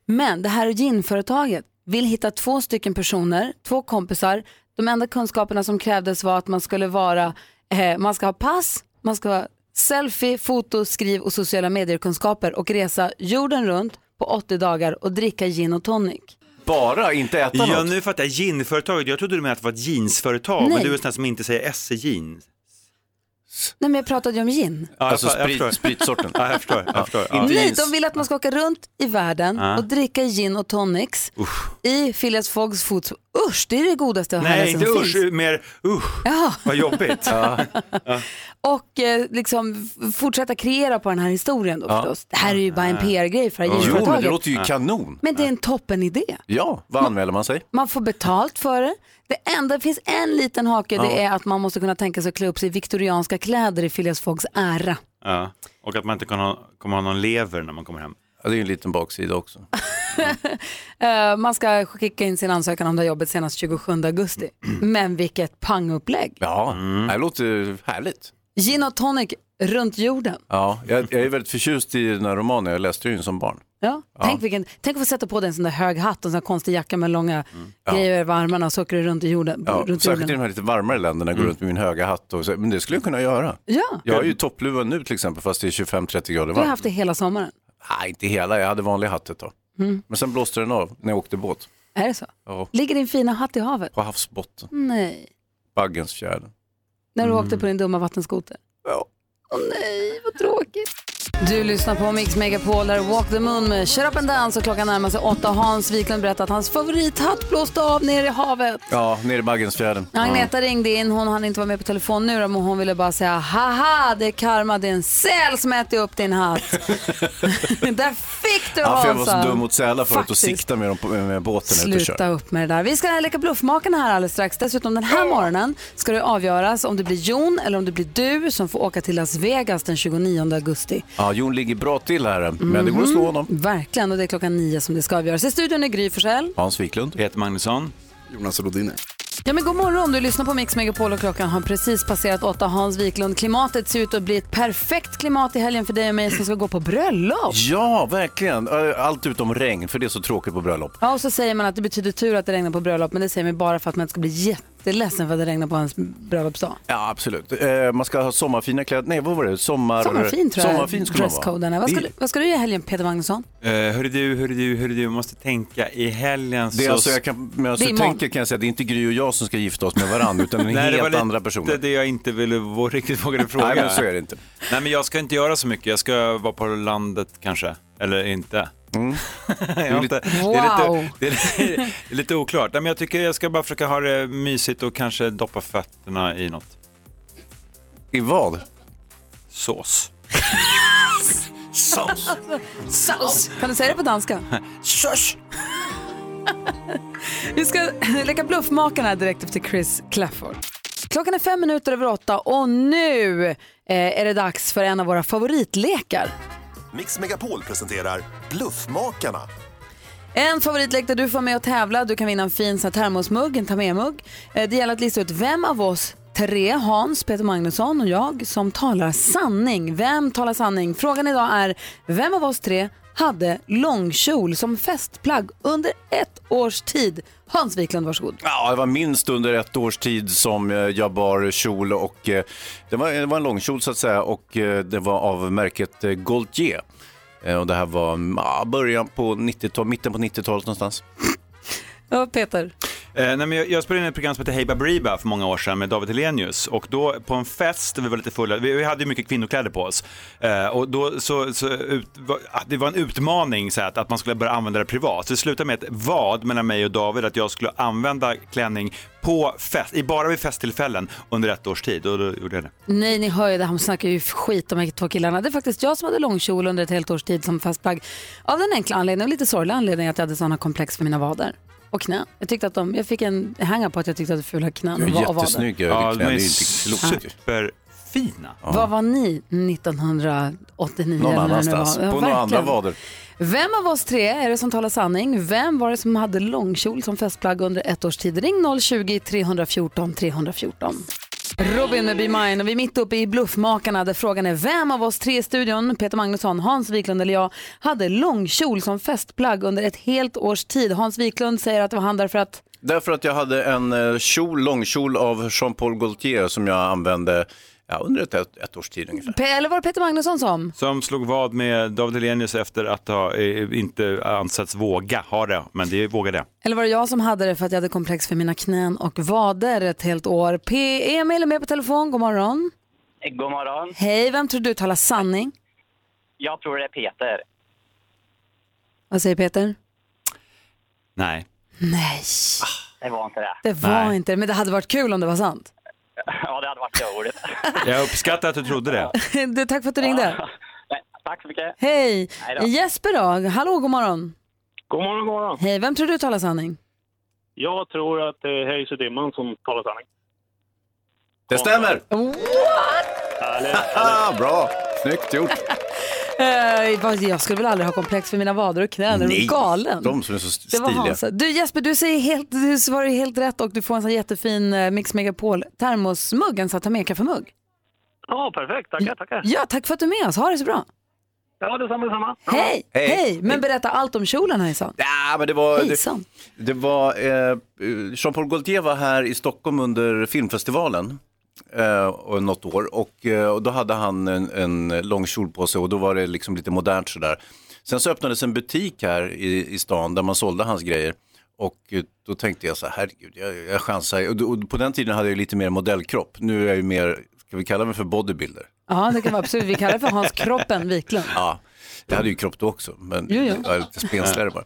B: Men det här ginföretaget vill hitta två stycken personer, två kompisar. De enda kunskaperna som krävdes var att man skulle vara, eh, man ska ha pass, man ska ha selfie, foto, skriv och sociala medierkunskaper och resa jorden runt på 80 dagar och dricka gin och tonic.
C: Bara inte äta
J: Ja,
C: något.
J: nu fattar jag. Ginföretaget. Jag trodde du menade att det var ett jeansföretag,
B: Nej.
J: men du är en sån här som inte säger SE-jeans.
B: Nej men jag pratade ju om gin.
J: Ja,
C: Alltså
J: jag fa- jag
C: sprit-
J: förstår.
C: spritsorten.
J: Ja, jag förstår. Jag förstår. Ja.
B: Nej, de vill att man ska åka runt i världen
J: Ja.
B: och dricka gin och tonics i Phileas Foggs fots. Usch, det är det godaste och
J: Nej,
B: härligaste
J: inte
B: som
J: usch,
B: finns.
J: mer usch, vad jobbigt.
B: Och eh, liksom f- fortsätta kreera på den här historien då
C: Ja.
B: förstås. Det här är ju bara en PR-grej för det här
C: Jo, men
B: ginföretaget.
C: det låter ju kanon.
B: Men det är en toppen idé.
C: Ja, vad anmäler man sig?
B: Man får betalt för det. Det enda, det finns en liten hake, det är att man måste kunna tänka sig att klä upp sig i viktorianska kläder i Phileas Foggs ära.
J: Ja. Och att man inte kan ha, kommer ha någon lever när man kommer hem.
C: Ja, det är ju en liten baksida också.
B: Eh, man ska skicka in sin ansökan om det här jobbet senast 27 augusti. Men vilket pangupplägg.
C: Ja,
J: Mm.
C: det låter härligt.
B: Gin och tonic runt jorden.
C: Ja, jag, jag är väldigt förtjust i den här romanen, jag läste ju den som barn.
B: Ja, Tänk, vilken, tänk att få sätta på dig en sån där hög hatt och en sån där konstig jacka med långa
C: Mm. Ja.
B: grejer över armarna och så åker du runt i jorden. Mm.
C: Ja,
B: runt
C: särskilt i
B: jorden.
C: de här lite varmare länderna, går runt med min höga hatt och så, men det skulle jag kunna göra.
B: Ja,
C: Jag har ju toppluva nu till exempel, fast det är 25-30 grader
B: du har
C: varmt.
B: haft det hela sommaren.
C: Nej, inte hela, jag hade vanlig hatt ett tag.
B: Mm.
C: Men sen blåste den av när jag åkte båt.
B: Är det så?
C: Ja,
B: Ligger din fina hatt i havet?
C: på havsbotten,
B: Nej.
C: Baggensfjärden.
B: När du
C: Mm.
B: åkte på din dumma vattenskoter?
C: Ja.
B: Åh nej, vad tråkigt. Du lyssnar på Mix Megapol, där är Walk the Moon med Shut Up and Dance och klockan närmar sig åtta. Hans Wiklund berättar att hans favorithatt blåste av nere i havet.
C: Ja, nere i Baggensfjärden.
B: Agneta ringde in, hon hann inte vara med på telefon nu då, men hon ville bara säga haha, det är karma, det är en säl som äter upp din hatt. Där fick du
C: Ja, för jag var
B: Hansa.
C: så dum mot sälar förut och
B: alltså. Faktiskt.
C: sikta med dem på, med båten ut och
B: Sluta
C: köra.
B: upp med det där. Vi ska leka bluffmakarna här alldeles strax. Dessutom den här morgonen ska det avgöras om det blir Jon eller om det blir du som får åka till Las Vegas den 29 augusti.
C: Ja, Jon ligger bra till här,
B: Mm.
C: men det går att slå honom.
B: Verkligen, och det är klockan nio som det ska avgöras. I studion är Gry Forssell.
C: Hans Wiklund.
J: Peter Magnusson.
G: Jonas Rodiner.
B: Ja men god morgon, du lyssnar på Mix Megapol och klockan har precis passerat åtta. Hans Wiklund, klimatet ser ut att bli ett perfekt klimat i helgen för dig och mig som ska gå på bröllop.
C: Ja, verkligen. Ö, Allt utom regn, för det är så tråkigt på bröllop.
B: Ja, och så säger man att det betyder tur att det regnar på bröllop, men det säger man bara för att man inte ska bli jätte jätteledsen för att det regnade på hans bröllopsdag.
C: Ja, absolut. Eh, man ska ha sommarfina kläder. Nej, vad var det? Sommar...
B: Sommarfin tror jag
C: Sommarfin skulle man
B: dresscoden
C: vara.
B: är. Vad ska, du, vad ska du göra i helgen Peter Magnusson?
J: Uh, hörru du, hörru du, hörru du, måste tänka i helgen
C: Det är
J: så...
C: alltså, jag kan, men alltså,
B: Det är
C: jag
B: imorgon.
C: tänker kan jag säga, det är inte Gry och jag som ska gifta oss med varandra, utan en
J: Nej, det var
C: helt
J: lite
C: andra personer.
J: det jag inte ville vå- riktigt vågade fråga.
C: Nej, men så är det inte.
J: Nej, men jag ska inte göra så mycket. Jag ska vara på landet kanske, eller inte. jag har inte det, är
F: Wow.
J: lite, det, är, det är lite oklart. Nej, men jag tycker jag ska bara försöka ha det mysigt och kanske doppa fötterna i något.
C: I vad?
J: Sås.
C: Sås.
B: Saus. Kan du säga det på danska?
C: Sås.
B: Vi ska leka bluffmakarna här direkt efter Chris Clafford. Klockan är fem minuter över åtta och nu eh, är det dags för en av våra favoritlekar.
M: Mix Megapol presenterar Bluffmakarna.
B: En favoritlek där du får med och tävla. Du kan vinna en fin sån här termosmugg, en ta med-mugg. Eh, Det gäller att lista ut vem av oss tre, Hans, Peter Magnusson och jag, som talar sanning. Vem talar sanning? Frågan idag är, vem av oss tre hade långkjol som festplagg under ett års tid? Hans Wiklund, varsågod.
C: Ja, det var minst under ett års tid som eh, jag bar kjol och eh, det var, det var en långkjol så att säga och eh, det var av märket eh, Gaultier. Eh, Och det här var mm, ja, början på 90-talet, mitten på 90-talet någonstans.
B: Ja, Peter.
J: Eh, nej, men jag, jag spelade in ett program som hette Hey Baberiba för många år sedan med David Hellenius och då på en fest, vi var lite fulla, vi, vi hade ju mycket kvinnokläder på oss eh, och då så, så ut, var, ah, det var en utmaning så här, att, att man skulle börja använda det privat. Så det slutade med ett vad mellan mig och David att jag skulle använda klänning på fest, i bara vid festtillfällen under ett års tid och då gjorde jag det.
B: Nej, ni hör ju det. Han snackar ju skit om de här två killarna. Det är faktiskt jag som hade långkjol under ett helt års tid som festplagg. Av den enkla anledningen, och lite sorgliga anledningen, att jag hade sådana komplex för mina vader och knän. Jag tyckte att de, jag fick en hänga på att jag tyckte att jag hade fula knän
C: Du
B: och
C: är
B: va- och
C: jättesnygg,
B: vader.
C: jag
J: Ja,
C: är
J: de är
C: inte klokt.
J: superfina.
B: Vad var ni 1989?
C: Någon
B: eller när det
C: annanstans,
B: var?
C: på
B: Ja,
C: några andra
B: verkligen.
C: vader.
B: Vem av oss tre är det som talar sanning? Vem var det som hade långkjol som festplagg under ett års tid? Ring 020-314 314. Robin med Be Mine och vi är mitt uppe i Bluffmakarna där frågan är vem av oss tre i studion, Peter Magnusson, Hans Wiklund eller jag, hade långkjol som festplagg under ett helt års tid? Hans Wiklund säger att det var han därför att
C: Därför att jag hade en eh, kjol, långkjol av Jean-Paul Gaultier som jag använde ja, under ett, ett, ett års tid ungefär.
B: Pe- eller var det Peter Magnusson som?
J: Som slog vad med David Hellenius efter att ha, eh, inte ansetts våga ha det, men det vågade jag.
B: Eller var det jag som hade det för att jag hade komplex för mina knän och vader ett helt år? P. Emil är med på telefon, god morgon.
N: God morgon.
B: Hej, vem tror du talar sanning?
N: Jag tror det är Peter.
B: Vad säger Peter?
J: Nej.
B: Nej.
N: Det var inte det.
B: Det var
J: Nej.
B: inte det, men det hade varit kul om det var sant.
N: Ja, det hade varit roligt.
J: Jag uppskattar att du trodde det.
B: du, tack för att du ringde.
N: Tack så mycket.
B: Hej!
N: Hej då.
B: Jesper då, hallå, god morgon.
O: God morgon, god morgon.
B: Hej, vem tror du talar sanning?
O: Jag tror att det är Hayes och Dimman som talar sanning.
C: Det stämmer! Ah, Bra, snyggt gjort.
B: Eh, vad- jag skulle väl aldrig ha komplex för mina vader och knän, är du galen?
C: de som är så
B: Det var
C: stiliga.
B: Hans. Du Jesper, du, säger helt, du svarar ju helt rätt och du får en sån här jättefin eh, Mix Megapol termosmugg, en sån här ta med kaffemugg.
O: Ja, perfekt. Tackar, tackar.
B: Ja, tack för att du är med oss. Ha det så bra.
O: Ja, detsamma, detsamma.
B: Hej! Hej!
C: Hej.
B: Men berätta allt om kjolen hejsan.
C: Ja, men det var, det,
B: Hejsan.
C: det var eh, Jean-Paul Gaultier var här i Stockholm under filmfestivalen eh, och något år och, eh, och då hade han en, en lång kjol på sig och då var det liksom lite modernt sådär. Sen så öppnades en butik här i, i stan där man sålde hans grejer och eh, då tänkte jag så här, herregud, jag, jag chansar. Och, då- och på den tiden hade jag ju lite mer modellkropp, nu är jag ju mer, ska vi kalla mig för bodybuilder?
B: Ja, det kan vara absolut. Vi kallar det för Hans Kroppen Wiklund.
C: Ja, jag hade ju kropp då också, men
B: Jo, jo.
C: jag var lite spensligare bara.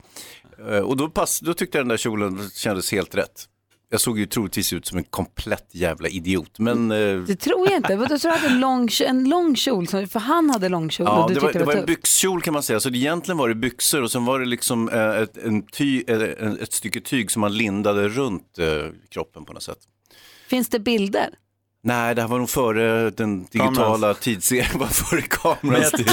C: Eh, Och då, pass, då tyckte jag den där kjolen kändes helt rätt. Jag såg ju troligtvis ut som en komplett jävla idiot, men... eh,
B: Mm. Det tror jag inte. Vadå, tror du hade en lång, en lång kjol? som- För han hade lång kjol
C: Ja,
B: och du
C: det var,
B: tyckte
C: det var en
B: tufft.
C: byxkjol kan man säga, så det, egentligen var det byxor och sen var det liksom eh, ett, en ty, eh, en- ett stycke tyg som man lindade runt eh, kroppen på något sätt.
B: Finns det bilder?
C: Nej, det här var nog före den digitala tidsserien, var före kamerans tid.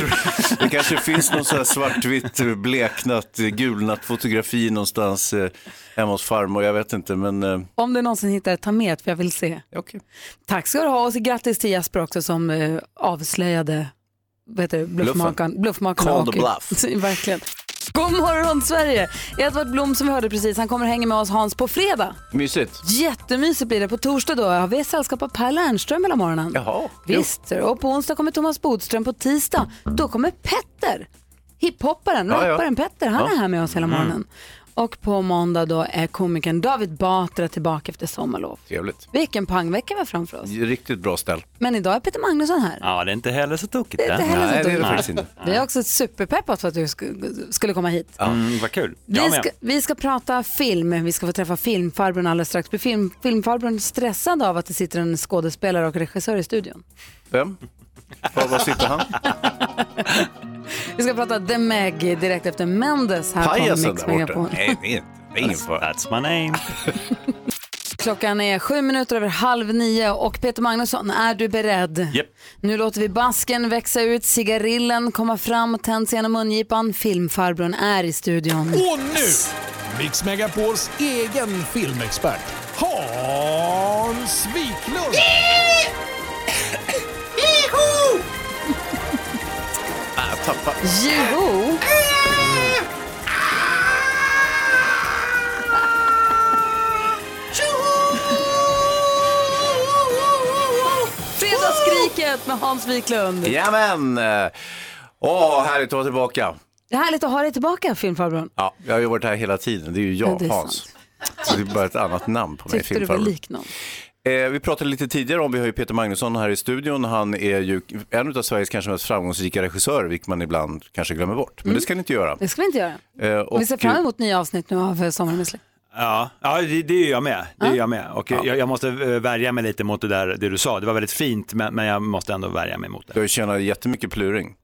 C: Det kanske finns någon sån här svartvitt, eh, bleknat, eh, gulnat fotografi någonstans eh, hemma hos farmor, jag vet inte, men eh,
B: Om du någonsin hittar ett, ta med ett, för jag vill se.
C: Okay.
B: Tack ska du ha och så grattis till Jesper också som eh, avslöjade vad heter det, bluffmakaren.
C: Bluffen.
B: bluffmakaren
C: Call
B: och-
C: the bluff.
B: Verkligen. God morgon Sverige! Edvard Blom som vi hörde precis, han kommer och hänger med oss Hans på fredag.
C: Mysigt.
B: Jättemysigt blir det. På torsdag då har vi sällskap av Per Lernström hela morgonen.
C: Jaha.
B: Visst, och på onsdag kommer Thomas Bodström, på tisdag då kommer Petter, hiphopparen,
F: Ja, ja.
B: rapparen Petter, han
F: Ja.
B: är här med oss hela
F: Mm.
B: morgonen. Och på måndag då är komikern David Batra tillbaka efter sommarlov.
C: Trevligt.
B: Vilken pangvecka vi har framför oss.
C: Riktigt bra ställ.
B: Men idag är Peter Magnusson här.
J: Ja, det är inte heller så tokigt.
B: Det är inte heller så
J: Nej, det är det
B: dumt.
J: faktiskt inte.
B: Vi är också superpeppat för att du sk- skulle komma hit.
J: Mm, vad kul.
B: Vi ska, vi ska prata film. Vi ska få träffa filmfarbrorn alldeles strax. Blir film, filmfarbrorn stressad av att det sitter en skådespelare och regissör i studion?
C: Vem? Var, var sitter han?
B: Vi ska prata The Meg direkt efter Mendes här på
J: Pajasen
B: Mix
J: där borta.
B: Megapol.
J: Nej, det är inte. Det är ingen
C: Alltså.
J: fara. That's my name.
B: Klockan är sju minuter över halv nio och Peter Magnusson, är du beredd?
J: Japp.
B: Nu låter vi basken växa ut, cigarillen komma fram och tänds genom mungipan. Filmfarbrorn är i studion.
P: Och nu, Mix Megapols egen filmexpert, Hans Wiklund!
Q: Juhu!
C: Ah, tappa.
B: Juhu! Fredagsskriket med Hans Wiklund.
C: Jajamän! Eh, Åh, härligt att vara tillbaka.
B: Det är härligt att ha dig tillbaka filmfarbrorn.
C: Ja, jag har ju varit här hela tiden. Det är ju jag,
B: Ja, det är
C: Hans. Så det är bara ett annat namn på mig.
B: Tyckte du var
C: filmfarbror.
B: lik någon?
C: Eh, vi pratade lite tidigare om, vi har ju Peter Magnusson här i studion. Han är ju en av Sveriges kanske mest framgångsrika regissörer, vilket man ibland kanske glömmer bort. Men det ska ni inte göra.
B: Det ska Mm. vi inte göra.
C: Eh, och-
B: vi ser fram emot nya avsnitt nu av eh, Sommaren med släkt.
J: Ja, ja det, det är jag med. Det är jag med. Och jag, jag måste eh, värja mig lite mot det där det du sa. Det var väldigt fint, men, men jag måste ändå värja mig mot det.
C: Du har ju tjänat jättemycket pluring.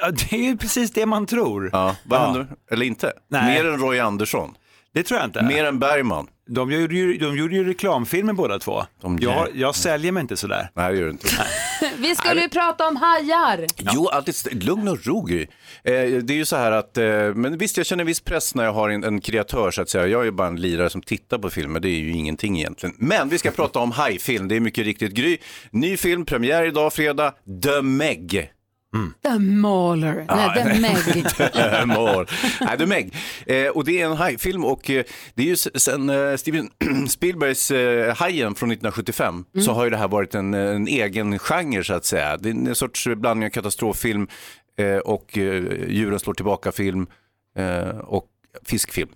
J: Ja, Det är ju precis det man tror.
C: Ja, vad
J: Ja.
C: händer? Eller inte?
J: Nej.
C: Mer än Roy Andersson.
J: Det tror jag inte.
C: Mer än Bergman.
J: De gjorde ju, de gjorde ju reklamfilmer båda två. jag, jag säljer mig inte sådär.
C: Nej, det gör du inte.
B: Vi skulle ju prata om hajar.
C: Jo, alltid st- lugn och ro Gry. eh, Det är ju så här att, eh, men visst jag känner viss press när jag har en, en kreatör så att säga. Jag är ju bara en lirare som tittar på filmer, det är ju ingenting egentligen. Men vi ska prata om hajfilm, det är mycket riktigt Gry. Ny film, premiär idag fredag, The Meg.
B: The Mauler. Nej, The Meg.
C: The Mauler. Nej, The Meg. Eh, och det är en hajfilm och eh, det är ju s- sen eh, Steven Spielbergs eh, Hajen från 1975 så har ju det här varit en, en egen genre så att säga. Det är en sorts blandning av katastroffilm eh, och eh, djuren slår tillbaka-film eh, och fiskfilm.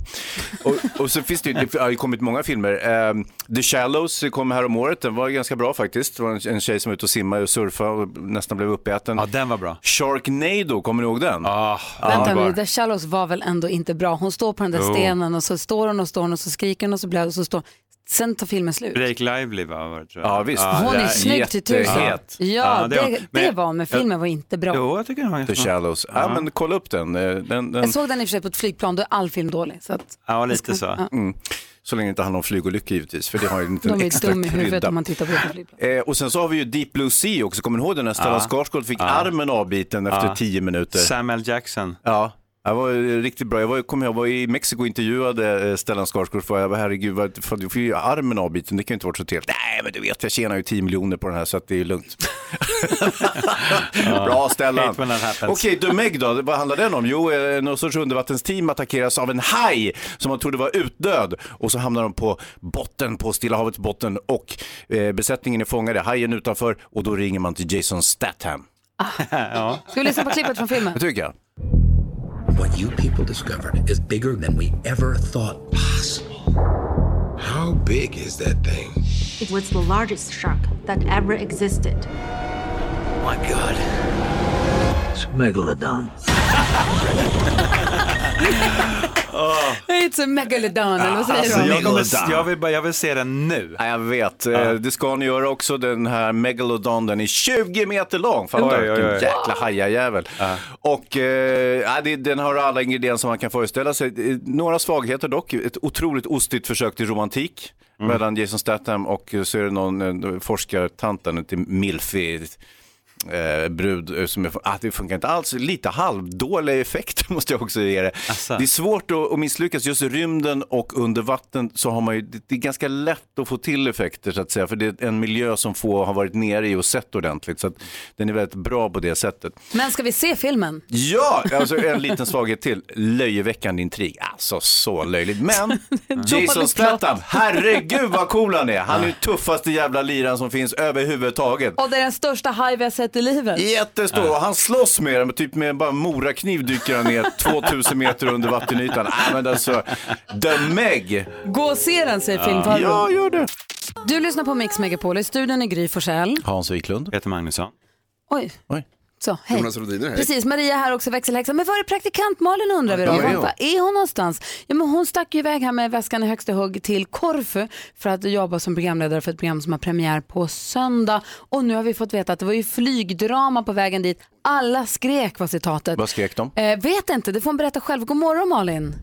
C: Och, och så finns det, ju- det har ju kommit många filmer. Eh, The Shallows kom här om året, den var ganska bra faktiskt. Det var en, en tjej som var ute och simmade och surfade och nästan blev uppäten. Ja,
J: den var bra.
C: Sharknado, kommer ni ihåg den?
J: Ah,
B: Vänta nu, The Shallows var väl ändå inte bra? Hon står på den där
C: Jo.
B: stenen och så står hon och står hon och så skriker hon och så blöder och så står Sen tar filmen slut.
J: Blake Lively va, var det, tror jag.
C: Ja, visst.
B: Hon är snygg till tusen. Ja, det, det var hon, men filmen var inte bra.
J: jag tycker den var
C: The Shallows. Ja, men kolla upp den. Eh, den, den
B: Jag såg den i och för sig på ett flygplan, då är all film dålig. Så att
J: ja, lite så.
C: Mm. Så länge det inte handlar om flygolyckor givetvis, för det har ju inte en
B: de
C: extra
B: är dum i huvudet
C: krydda.
B: om man tittar på det på flygplan.
C: Eh, och sen så har vi ju Deep Blue Sea också, kommer ni ihåg den när Stellan
J: Ja.
C: Skarsgård fick
J: Ja.
C: armen avbiten efter
J: Ja.
C: tio minuter?
J: Samuel Jackson.
C: Ja. Det var ju riktigt bra. Jag var, kom, jag var i Mexiko och intervjuade eh, Stellan Skarsgård. För jag bara, herregud, vad, fan, du får ju armen avbiten. Det kan ju inte vara så trevligt. Nej, men du vet, jag tjänar ju 10 miljoner på den här så att det är lugnt. bra Stellan.
J: Hate when that happens.
C: Okej, The Meg då, vad handlar den om? Jo, eh, någon sorts undervattensteam attackeras av en haj som man trodde var utdöd. Och så hamnar de på botten, på Stilla havets botten och eh, besättningen är fångade, hajen utanför och då ringer man till Jason Statham.
J: ja.
B: Ska vi lyssna på klippet från filmen?
C: Det tycker jag.
R: What you people discovered is bigger than we ever thought possible. How big is that thing?
S: It was the largest shark that ever existed.
R: My God. It's a megalodon.
B: It's a megalodon, eller vad säger
J: Alltså,
B: de?
J: jag, kommer, jag, vill, bara- jag vill se den nu.
C: Ja, jag vet. Eh, Det ska ni göra också. Den här megalodon, den är 20 meter lång. Fattar
J: Oj,
C: du?
J: oj,
C: Vilken
J: oj.
C: jäkla hajajävel. Och eh, ja, det- den har alla ingredienser man kan föreställa sig. Eh, Några svagheter dock. Ett otroligt ostigt försök till romantik
J: Mm.
C: mellan Jason Statham och eh, så är det någon eh, forskartanten till Milfi. eh, brud eh, som är, från- ah, det funkar inte alls. Lite halvdåliga effekter måste jag också ge det. Det är svårt att, att misslyckas. Just i rymden och under vatten så har man ju, det, det är ganska lätt att få till effekter så att säga. För det är en miljö som få har varit nere i och sett ordentligt. Så att den är väldigt bra på det sättet.
B: Men ska vi se filmen?
C: Ja, alltså en liten svaghet till. Löjeväckande intrig. Alltså så löjligt. Men Jason
Q: Dåligt
C: Statham,
Q: prat.
C: herregud vad cool han är. Han är ju tuffaste jävla liran som finns överhuvudtaget.
B: Och det är den största haj vi har sett i livet.
C: Jättestor och han slåss med den, typ med bara morakniv dyker han ner 2000 meter under vattenytan. Nej men alltså, The Meg.
B: Gå och se den, säger
C: Ja.
B: filmfarbrorn.
C: Ja, gör det.
B: Du lyssnar på Mix Megapol, i studion är Gry Forssell.
C: Hans Wiklund.
J: Peter Magnusson.
B: Oj.
C: Oj.
B: Så, hej.
G: Jonas Rhodiner, hej.
B: Precis, Maria här också, växelhäxan. Men var är praktikant Malin undrar vi då?
G: Ja, ja.
B: Var är hon någonstans? Ja, men hon stack ju iväg här med väskan i högsta hugg till Korfu för att jobba som programledare för ett program som har premiär på söndag. Och nu har vi fått veta att det var ju flygdrama på vägen dit. Alla skrek var citatet.
C: Vad skrek de?
B: Eh, vet inte, det får hon berätta själv. God morgon Malin.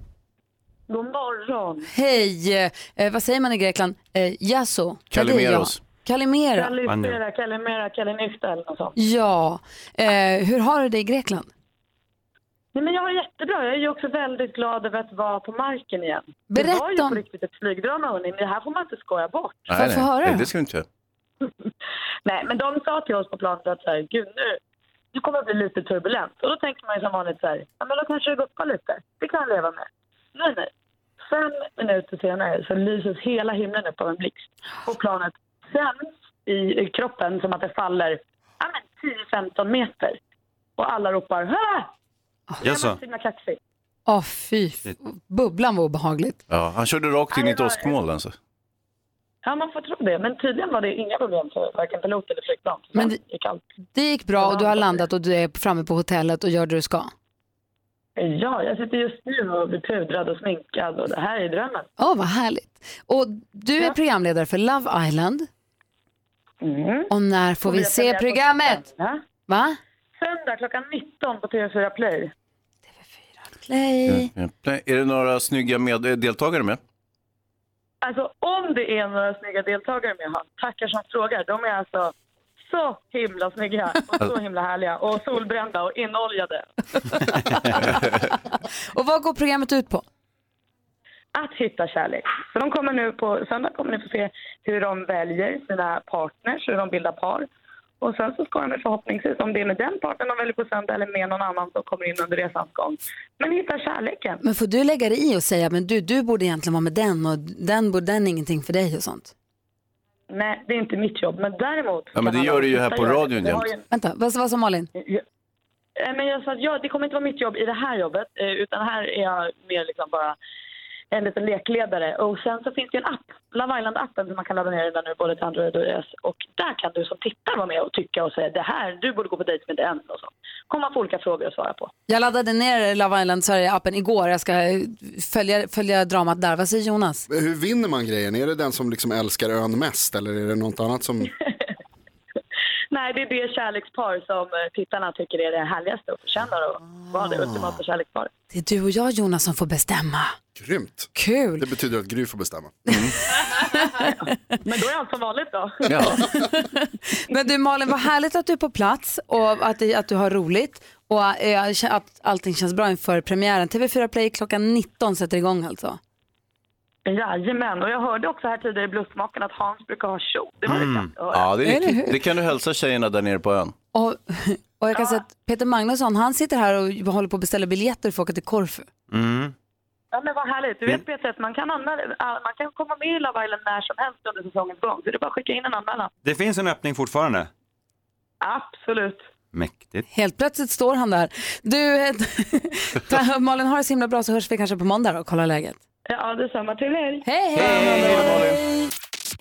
T: God morgon.
B: Hej, eh, vad säger man i Grekland? Eh, Yasso.
C: Kalimeros.
B: Kalimera.
T: Kalimera, kalimera, kalinista eller något sånt.
B: Ja, eh, hur har du det i Grekland?
T: Nej, men jag har det jättebra. Jag är ju också väldigt glad över att vara på marken igen.
B: Berätta
T: det var ju på
B: om-
T: riktigt ett flygdrama hörni. Det här får man inte skoja bort.
C: Nej, nej. Nej, det ska du inte.
T: Nej, men de sa till oss på planet att så här, gud nu, nu kommer det bli lite turbulent. Och då tänker man ju som vanligt så här, ja men då kanske det guppar lite. Det kan jag leva med. Nej, nej. Fem minuter senare så lyses hela himlen upp av en blixt. Och planet sänds i kroppen som att det faller ja, men 10-15 meter. Och alla ropar Hä!
C: Jaså?
T: Så himla kaxigt.
B: Åh fy, f- bubblan var obehagligt.
C: Ja, han körde rakt in i ett åskmoln alltså.
T: Ja, man får tro det. Men tydligen var det inga problem för varken pilot eller flygplan. Så
B: Men
T: det gick allt.
B: Det gick bra och du har landat och du är framme på hotellet och gör det du ska.
T: Ja, jag sitter just nu och blir pudrad och sminkad och det här är drömmen.
B: Åh, vad härligt. Och du är programledare för Love Island. Och när får
T: Och
B: vi
T: vi har
B: se
T: premiär på
B: programmet?
T: söndag.
B: Va?
T: Söndag klockan 19 på TV4 Play.
B: Play.
C: Mm. Ja, ja. Är det några snygga med, eh, deltagare med?
T: Alltså om det är några snygga deltagare med han, tackar som frågar. De är alltså så himla snygga och
R: Alltså-
T: så himla härliga och solbrända och inoljade.
B: Och vad går programmet ut på?
T: Att hitta kärlek. Så de kommer nu på söndag kommer ni få se hur de väljer sina partners, hur de bildar par. Och sen så ska ni förhoppningsvis, om det är med den partnern de väljer på söndag eller med någon annan som kommer in under resans gång, men hitta kärleken.
B: Men får du lägga dig i och säga, men du, du borde egentligen vara med den och den, borde- den är ingenting för dig och sånt?
T: Nej, det är inte mitt jobb, men däremot...
C: Ja, men det
T: kan
C: gör
T: alla
C: det ju här
T: titta
C: på
T: göra.
C: radion
T: Vi
C: jämt.
T: har ju-
B: Vänta, vad vad sa Malin?
T: Eh, Men jag sa att ja, det kommer inte vara mitt jobb i det här jobbet, eh, utan här är jag mer liksom bara en liten lekledare. Och sen så finns det ju en app, Love Island-appen, som man kan ladda ner den nu, både till Android och iOS. Och där kan du som tittar vara med och tycka och säga det här, du borde gå på dejt med den och så. Kommer man få olika frågor att svara på.
B: Jag laddade ner Love Island Sverige-appen igår. Jag ska eh, följa, följa dramat där. Vad säger Jonas?
G: Hur vinner man grejen? Är det den som liksom älskar ön mest eller är det något annat som...
T: Nej, det är det kärlekspar som eh, tittarna tycker är det härligaste och förtjänar att vara det
C: Ah.
T: ultimata kärleksparet.
B: Det är du och jag Jonas som får bestämma.
G: Grymt.
B: Kul.
G: Det betyder att Gry får bestämma.
T: Men då är allt som vanligt då.
B: Men du Malin, vad härligt att du är på plats och att, det- att du har roligt och eh, att allting känns bra inför premiären. TV4 Play klockan 19 sätter igång alltså.
T: Jajamän, och jag hörde också här tidigare i Bluffmakarna att Hans brukar ha kjol. Det var lite
C: Mm.
T: kul att höra.
C: Ja, det,
B: Eller hur?
C: är, det kan du hälsa tjejerna där nere på ön.
B: Och, och jag kan säga att Peter Magnusson, han sitter här och håller på att beställa biljetter för att åka till Korfu.
J: Mm.
T: Ja, men vad härligt. Du vet Peter att man kan, anmäla, ah, man kan komma med i Love Island när som helst under säsongens gång. Så det är bara att skicka in en anmälan.
J: Det finns en öppning fortfarande.
T: Absolut.
J: Mäktigt.
B: Helt plötsligt står han där. Du, eh, ta- Malin, har det så himla bra så hörs vi kanske på måndag då och kollar läget.
T: Ja, detsamma. Trevlig helg.
B: Hej, hej!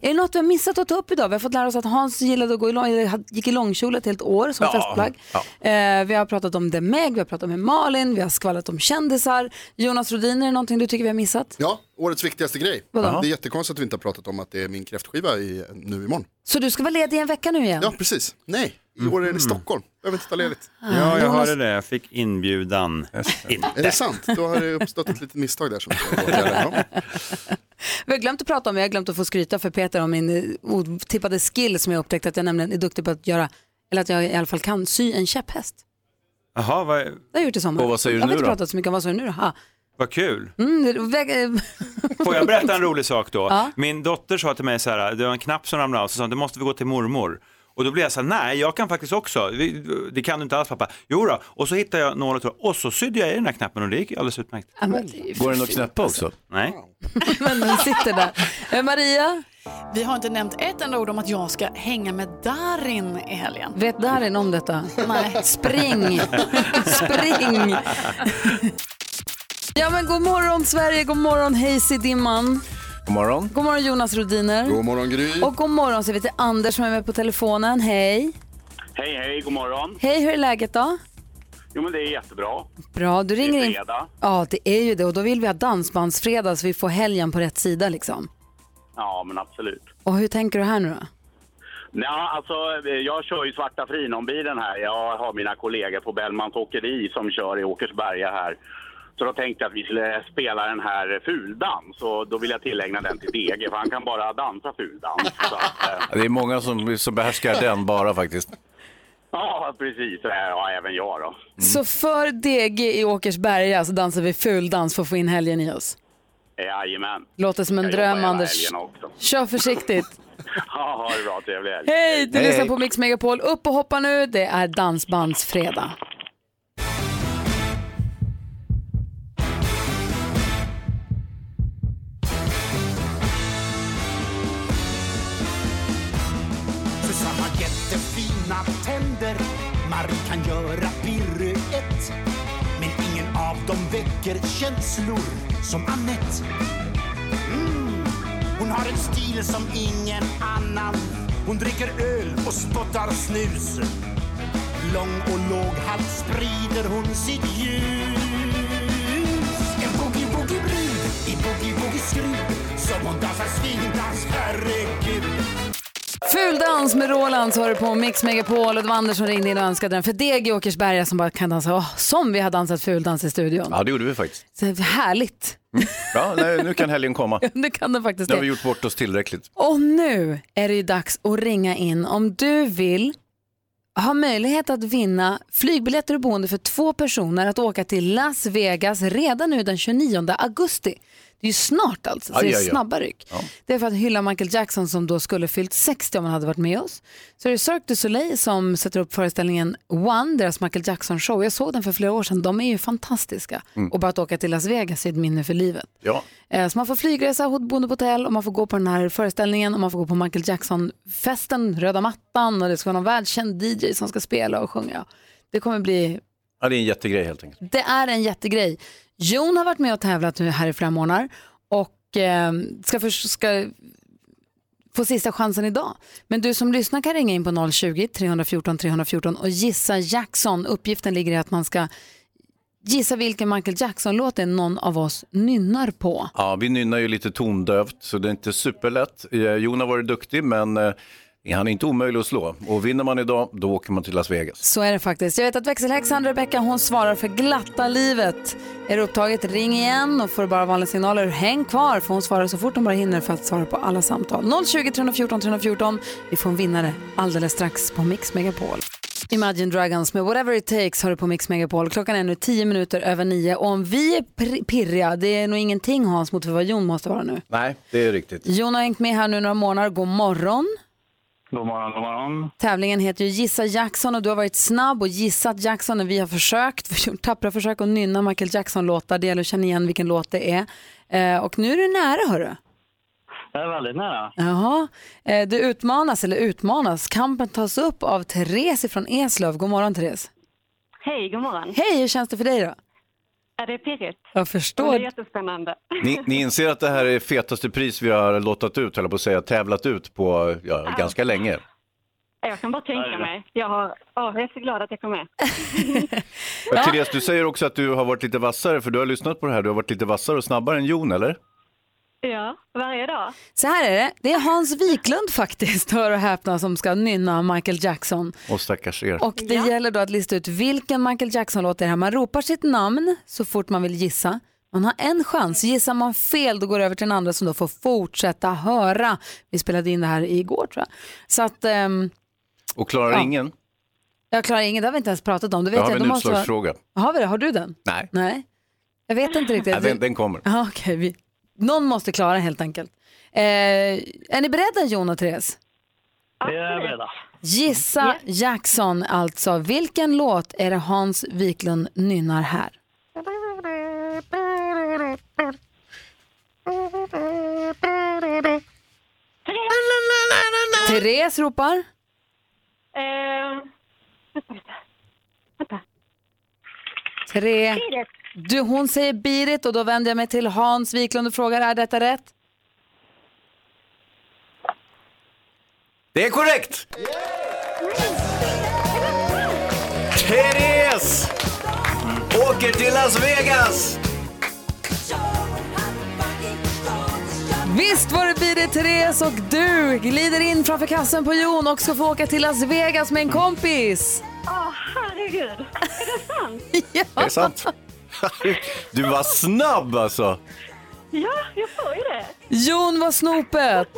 B: Är det något vi har missat att ta upp idag? Vi har fått lära oss att Hans gillade att gå i lång, eller gick i långkjol ett helt år som festplagg. Eh, vi har pratat om The Meg, vi har pratat med Malin, vi har skvallrat om kändisar. Jonas Rodin, är det någonting du tycker vi har missat?
G: Ja, årets viktigaste grej.
B: Vadå?
G: Det är jättekonstigt att vi inte har pratat om att det är min kräftskiva i, nu imorgon.
B: Så du ska vara ledig i en vecka nu igen?
G: Ja, precis. Nej, i år
B: Mm.
G: är det Stockholm. Jag behöver inte ta ledigt.
J: Ja, jag hörde det. Jag fick inbjudan. Inte.
G: Är det sant? Då har det uppstått ett litet misstag där. Som jag åtgärdar. Ja.
B: Vi har glömt att prata om, jag har glömt att få skryta för Peter om min eh, otippade skill som jag upptäckte att jag nämligen är duktig på att göra Eller att jag i alla fall kan sy en käpphäst.
J: Jaha, vad,
B: Det har jag gjort i sommar.
J: Och vad säger du
B: jag har
J: nu
B: inte
J: då?
B: pratat så mycket om vad säger du nu då? Ah.
J: vad kul.
B: Mm, det- väg-
J: Får jag berätta en rolig sak då?
B: Ja.
J: Min dotter sa till mig så här, det var en knapp som ramlade av, så sa hon, det måste vi gå till mormor. Och då blev jag så här, nej jag kan faktiskt också, Vi- det kan du inte alls pappa. Jo då. och så hittade jag nål och tråd och så sydde jag i den här knappen och det gick alldeles utmärkt.
B: Ja, men det är ju
J: Går den att knäppa också? Nej.
B: Men den sitter där. Eh, Maria?
I: Vi har inte nämnt ett enda ord om att jag ska hänga med Darin i helgen.
B: Vet Darin om detta?
I: Nej.
B: Spring! Spring! Ja men god morgon Sverige, god morgon Hayes i dimman.
C: God morgon.
B: God morgon Jonas Rodiner.
G: God morgon Gry.
B: Och god morgon säger vi till Anders som är med på telefonen. Hej!
N: Hej, hej, god morgon.
B: Hej, hur är läget då?
N: Jo, men det är jättebra.
B: Bra, du ringer in.
N: fredag.
B: Ja, det är ju det och då vill vi ha dansbandsfredag så vi får helgen på rätt sida liksom.
N: Ja, men absolut.
B: Och hur tänker du här nu då?
N: Ja, alltså, jag kör ju svarta Frinon-bilen här. Jag har mina kollegor på Bellmans Åkeri som kör i Åkersberga här. Så då tänkte jag att vi skulle spela den här fuldans. Så då vill jag tillägna den till DG, för han kan bara dansa fuldans. Så att, eh,
C: Det är många som, som behärskar den bara faktiskt.
N: ja, precis. Ja, även jag då.
B: Så för DG i Åkersberga så dansar vi fuldans för att få in helgen i oss.
N: Eh, Jajamän.
B: Låter som en
N: Jag
B: dröm
N: jobbar hela
B: Anders.
N: helgen också.
B: Kör försiktigt.
N: Ja, ha det bra. Trevlig helg.
B: Hej, du lyssnar på Mix Megapol. Upp och hoppa nu, det är dansbandsfredag.
Q: Susanne har jättefina tänder Marie kan göra piruett Men ingen av dem väcker känslor som Annette mm. Hon har en stil som ingen annan Hon dricker öl och spottar snus Lång och låghalt sprider hon sitt ljus En boogie-woogie-brud i boogie-woogie-skrud Som hon dansar svindans, herregud
B: Fuldans med Roland så har du på Mix Megapol och det var Anders som ringde in och önskade den för DG i Åkersberga som bara kan dansa Åh, som vi har dansat fuldans i studion.
C: Ja, det gjorde vi faktiskt.
B: Så härligt,
C: Bra, nej, nu kan helgen komma.
B: nu kan det faktiskt
C: Nu har vi
B: det.
C: gjort bort oss tillräckligt.
B: Och nu är det ju dags att ringa in om du vill ha möjlighet att vinna flygbiljetter och boende för två personer att åka till Las Vegas redan nu den 29 augusti. Det är ju snart alltså, så
U: Aj,
B: det
U: aj,
B: är
U: aj.
B: snabba ryck. Det är för att hylla Michael Jackson som då skulle fyllt 60 om han hade varit med oss. Så det är Cirque du Soleil som sätter upp föreställningen One, deras Michael Jackson-show. Jag såg den för flera år sedan, de är ju fantastiska.
U: Mm.
B: Och bara att åka till Las Vegas är ett minne för livet.
C: Ja.
B: Eh, Så man får flygresa, hot- boende på hotell och man får gå på den här föreställningen och man får gå på Michael Jackson-festen, röda mattan och det ska vara någon världskänd DJ som ska spela och sjunga. Det kommer bli,
C: Ja, det är en jättegrej helt enkelt.
B: det är en jättegrej. Jon har varit med och tävlat nu här i flera månader och eh, ska, för, ska få sista chansen idag. Men du som lyssnar kan ringa in på 020-314 314 och gissa Jackson. Uppgiften ligger i att man ska gissa vilken Michael Jackson-låt det är någon av oss nynnar på.
C: Ja, vi nynnar ju lite tondövt, så det är inte superlätt. Eh, Jon har varit duktig, men eh, han är inte omöjlig att slå. Och vinner man idag, då åker man till Las Vegas.
B: Så är det faktiskt. Jag vet att växelhäxan Rebecca hon svarar för glatta livet. Är det upptaget, ring igen och får du bara vanliga signaler, häng kvar för hon svarar så fort hon bara hinner för att svara på alla samtal. 020 314 314. Vi får en vinnare alldeles strax på Mix Megapol. Imagine Dragons med Whatever It Takes har du på Mix Megapol. Klockan är nu 10 minuter över 9 och om vi är pr- pirriga, det är nog ingenting Hans mot vad Jon måste vara nu.
C: Nej, det är riktigt.
B: Jon har hängt med här nu några månader, god morgon.
N: God morgon, god morgon.
B: Tävlingen heter ju Gissa Jackson och du har varit snabb och gissat Jackson när vi har försökt, gjort tappra försök att nynna Michael Jackson-låtar. Det gäller att känna igen vilken låt det är. Eh, och nu är du nära hörru.
N: Det är väldigt nära.
B: Jaha, eh, du utmanas, eller utmanas, kampen tas upp av Therese från Eslöv. God morgon Therese.
V: Hej, god morgon.
B: Hej, hur känns det för dig då?
V: Är det pirrigt?
B: Jag
V: Det
B: förstår.
V: är jättespännande.
C: Ni, ni inser att det här är fetaste pris vi har lottat ut, eller på att säga, tävlat ut på ja, ganska länge.
V: Jag kan bara tänka
C: Ja.
V: mig. Jag, har, ja, jag är så glad att jag kom med.
C: Ja. Therese, du säger också att du har varit lite vassare, för du har lyssnat på det här. Du har varit lite vassare och snabbare än Jon, eller?
V: Ja, varje dag.
B: Så här är det, det är Hans Wiklund faktiskt, hör och häpna, som ska nynna Michael Jackson.
C: Och stackars er.
B: Och det gäller då att lista ut vilken Michael Jackson-låt det är. Man ropar sitt namn så fort man vill gissa. Man har en chans. Gissar man fel då går det över till den andra som då får fortsätta höra. Vi spelade in det här igår tror jag. Så att, ehm,
C: Och klarar
B: Ja.
C: ingen?
B: Jag klarar ingen, det har vi inte ens pratat om. Det vet
C: Jag har
B: jag.
C: en
B: De måste vara-
C: utslagsfråga.
B: Har vi det? Har du den?
C: Nej,
B: Nej. Jag vet inte riktigt.
C: ja, den, den kommer.
B: Ja, okej. vi... Någon måste klara helt enkelt. Eh, är ni beredda Jon och Therese?
V: Det är jag redan.
B: Gissa Jackson alltså. Vilken låt är det Hans Wiklund nynnar här? Therese ropar.
V: Eh,
B: Tre. Du, hon säger Birit och då vänder jag mig till Hans Wiklund och frågar är detta rätt?
C: Det är korrekt! Therese åker till Las Vegas!
B: Visst var det Bide Therese och du glider in framför kassen på Jon och ska få åka till Las Vegas med en kompis.
V: Åh, herregud. Är
B: Ja.
C: Det är
V: det sant?
C: sant. Du var snabb alltså.
V: Ja, jag får ju det.
B: Jon var snopet.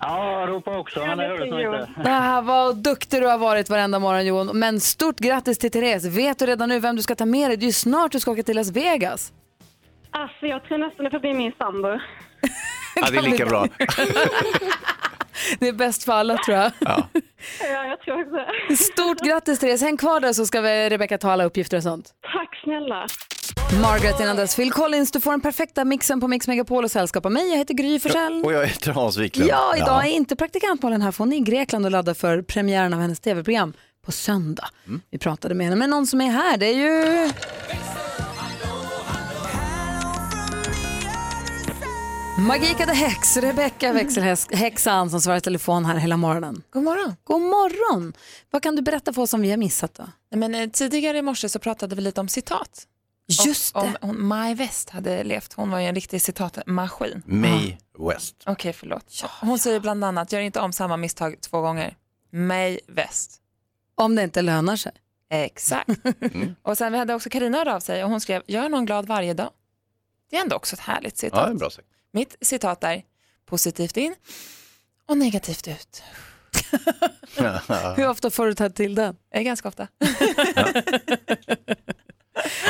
K: Ja, ropa också, men det hördes nog inte.
B: Det här var duktig du har varit varenda morgon Jon. Men stort grattis till Therese. Vet du redan nu vem du ska ta med dig? Det är ju snart du ska åka till Las Vegas.
V: Alltså, jag tror nästan det får bli min sambo.
C: Ja, det är lika bra.
B: Det är bäst för alla tror jag.
V: Ja, jag tror också det.
B: Stort grattis Therese. Häng kvar där så ska vi Rebecca ta alla uppgifter och sånt.
V: Tack snälla.
B: Margaret innan dess. Phil Collins, du får den perfekta mixen på Mix Megapol och sällskap av mig. Jag heter Gry Forssell.
C: Och jag heter Hans Wiklund.
B: Ja, idag är inte praktikantmålen här för hon är i Grekland och laddar för premiären av hennes tv-program på söndag. Vi pratade med henne, men någon som är här det är ju... Magika the Hex, Rebecca växelhäxan som svarar i telefon här hela morgonen. God morgon. God morgon. Vad kan du berätta för oss som vi har missat då?
D: Men, eh, tidigare i morse så pratade vi lite om citat.
B: Just
D: och, det. Om hon, Maj West hade levt, hon var ju en riktig citatmaskin.
C: May West.
D: Okej, förlåt. Hon säger bland annat, gör inte om samma misstag två gånger. Maj West.
B: Om det inte lönar sig.
D: Exakt. Och sen vi hade också Carina hörde av sig och hon skrev, gör någon glad varje dag. Det är ändå också ett härligt citat.
C: Ja, det är bra sagt.
D: Mitt citat är, positivt in och negativt ut.
B: Hur ofta får du ta till den?
D: Eh, Ganska ofta.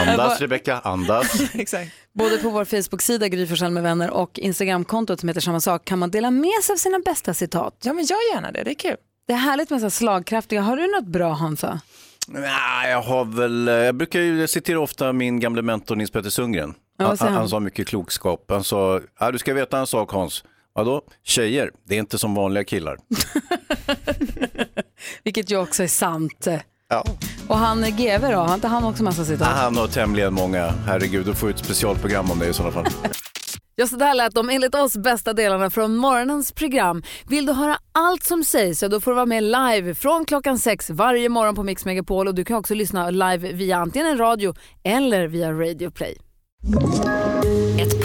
C: Andas Rebecca, andas.
D: Exakt.
B: Både på vår Facebook-sida Gry Forssell med vänner och Instagramkontot som heter samma sak kan man dela med sig av sina bästa citat.
D: Ja, men gör gärna det. Det är kul.
B: Det är härligt med så här slagkraftiga. Har du något bra Hansa?
C: Nej, jag har väl, eh, jag brukar ju citera ofta min gamle mentor Nils Petter Sundgren.
B: Ja, vad
C: han,
B: säger
C: han,
B: han?
C: sa mycket klokskap. Han sa, ja, du ska veta en sak Hans. Vadå? Tjejer, det är inte som vanliga killar.
B: Vilket ju också är sant. Och han är GV då, har inte han också massa citat?
C: Han har tämligen många, herregud, då får vi ett specialprogram om det i sådana fall.
F: Ja, så där lät de enligt oss bästa delarna från morgonens program. Vill du höra allt som sägs så då får du vara med live från klockan sex varje morgon på Mix Megapol och du kan också lyssna live via antingen en radio eller via Radio Play.
L: Ett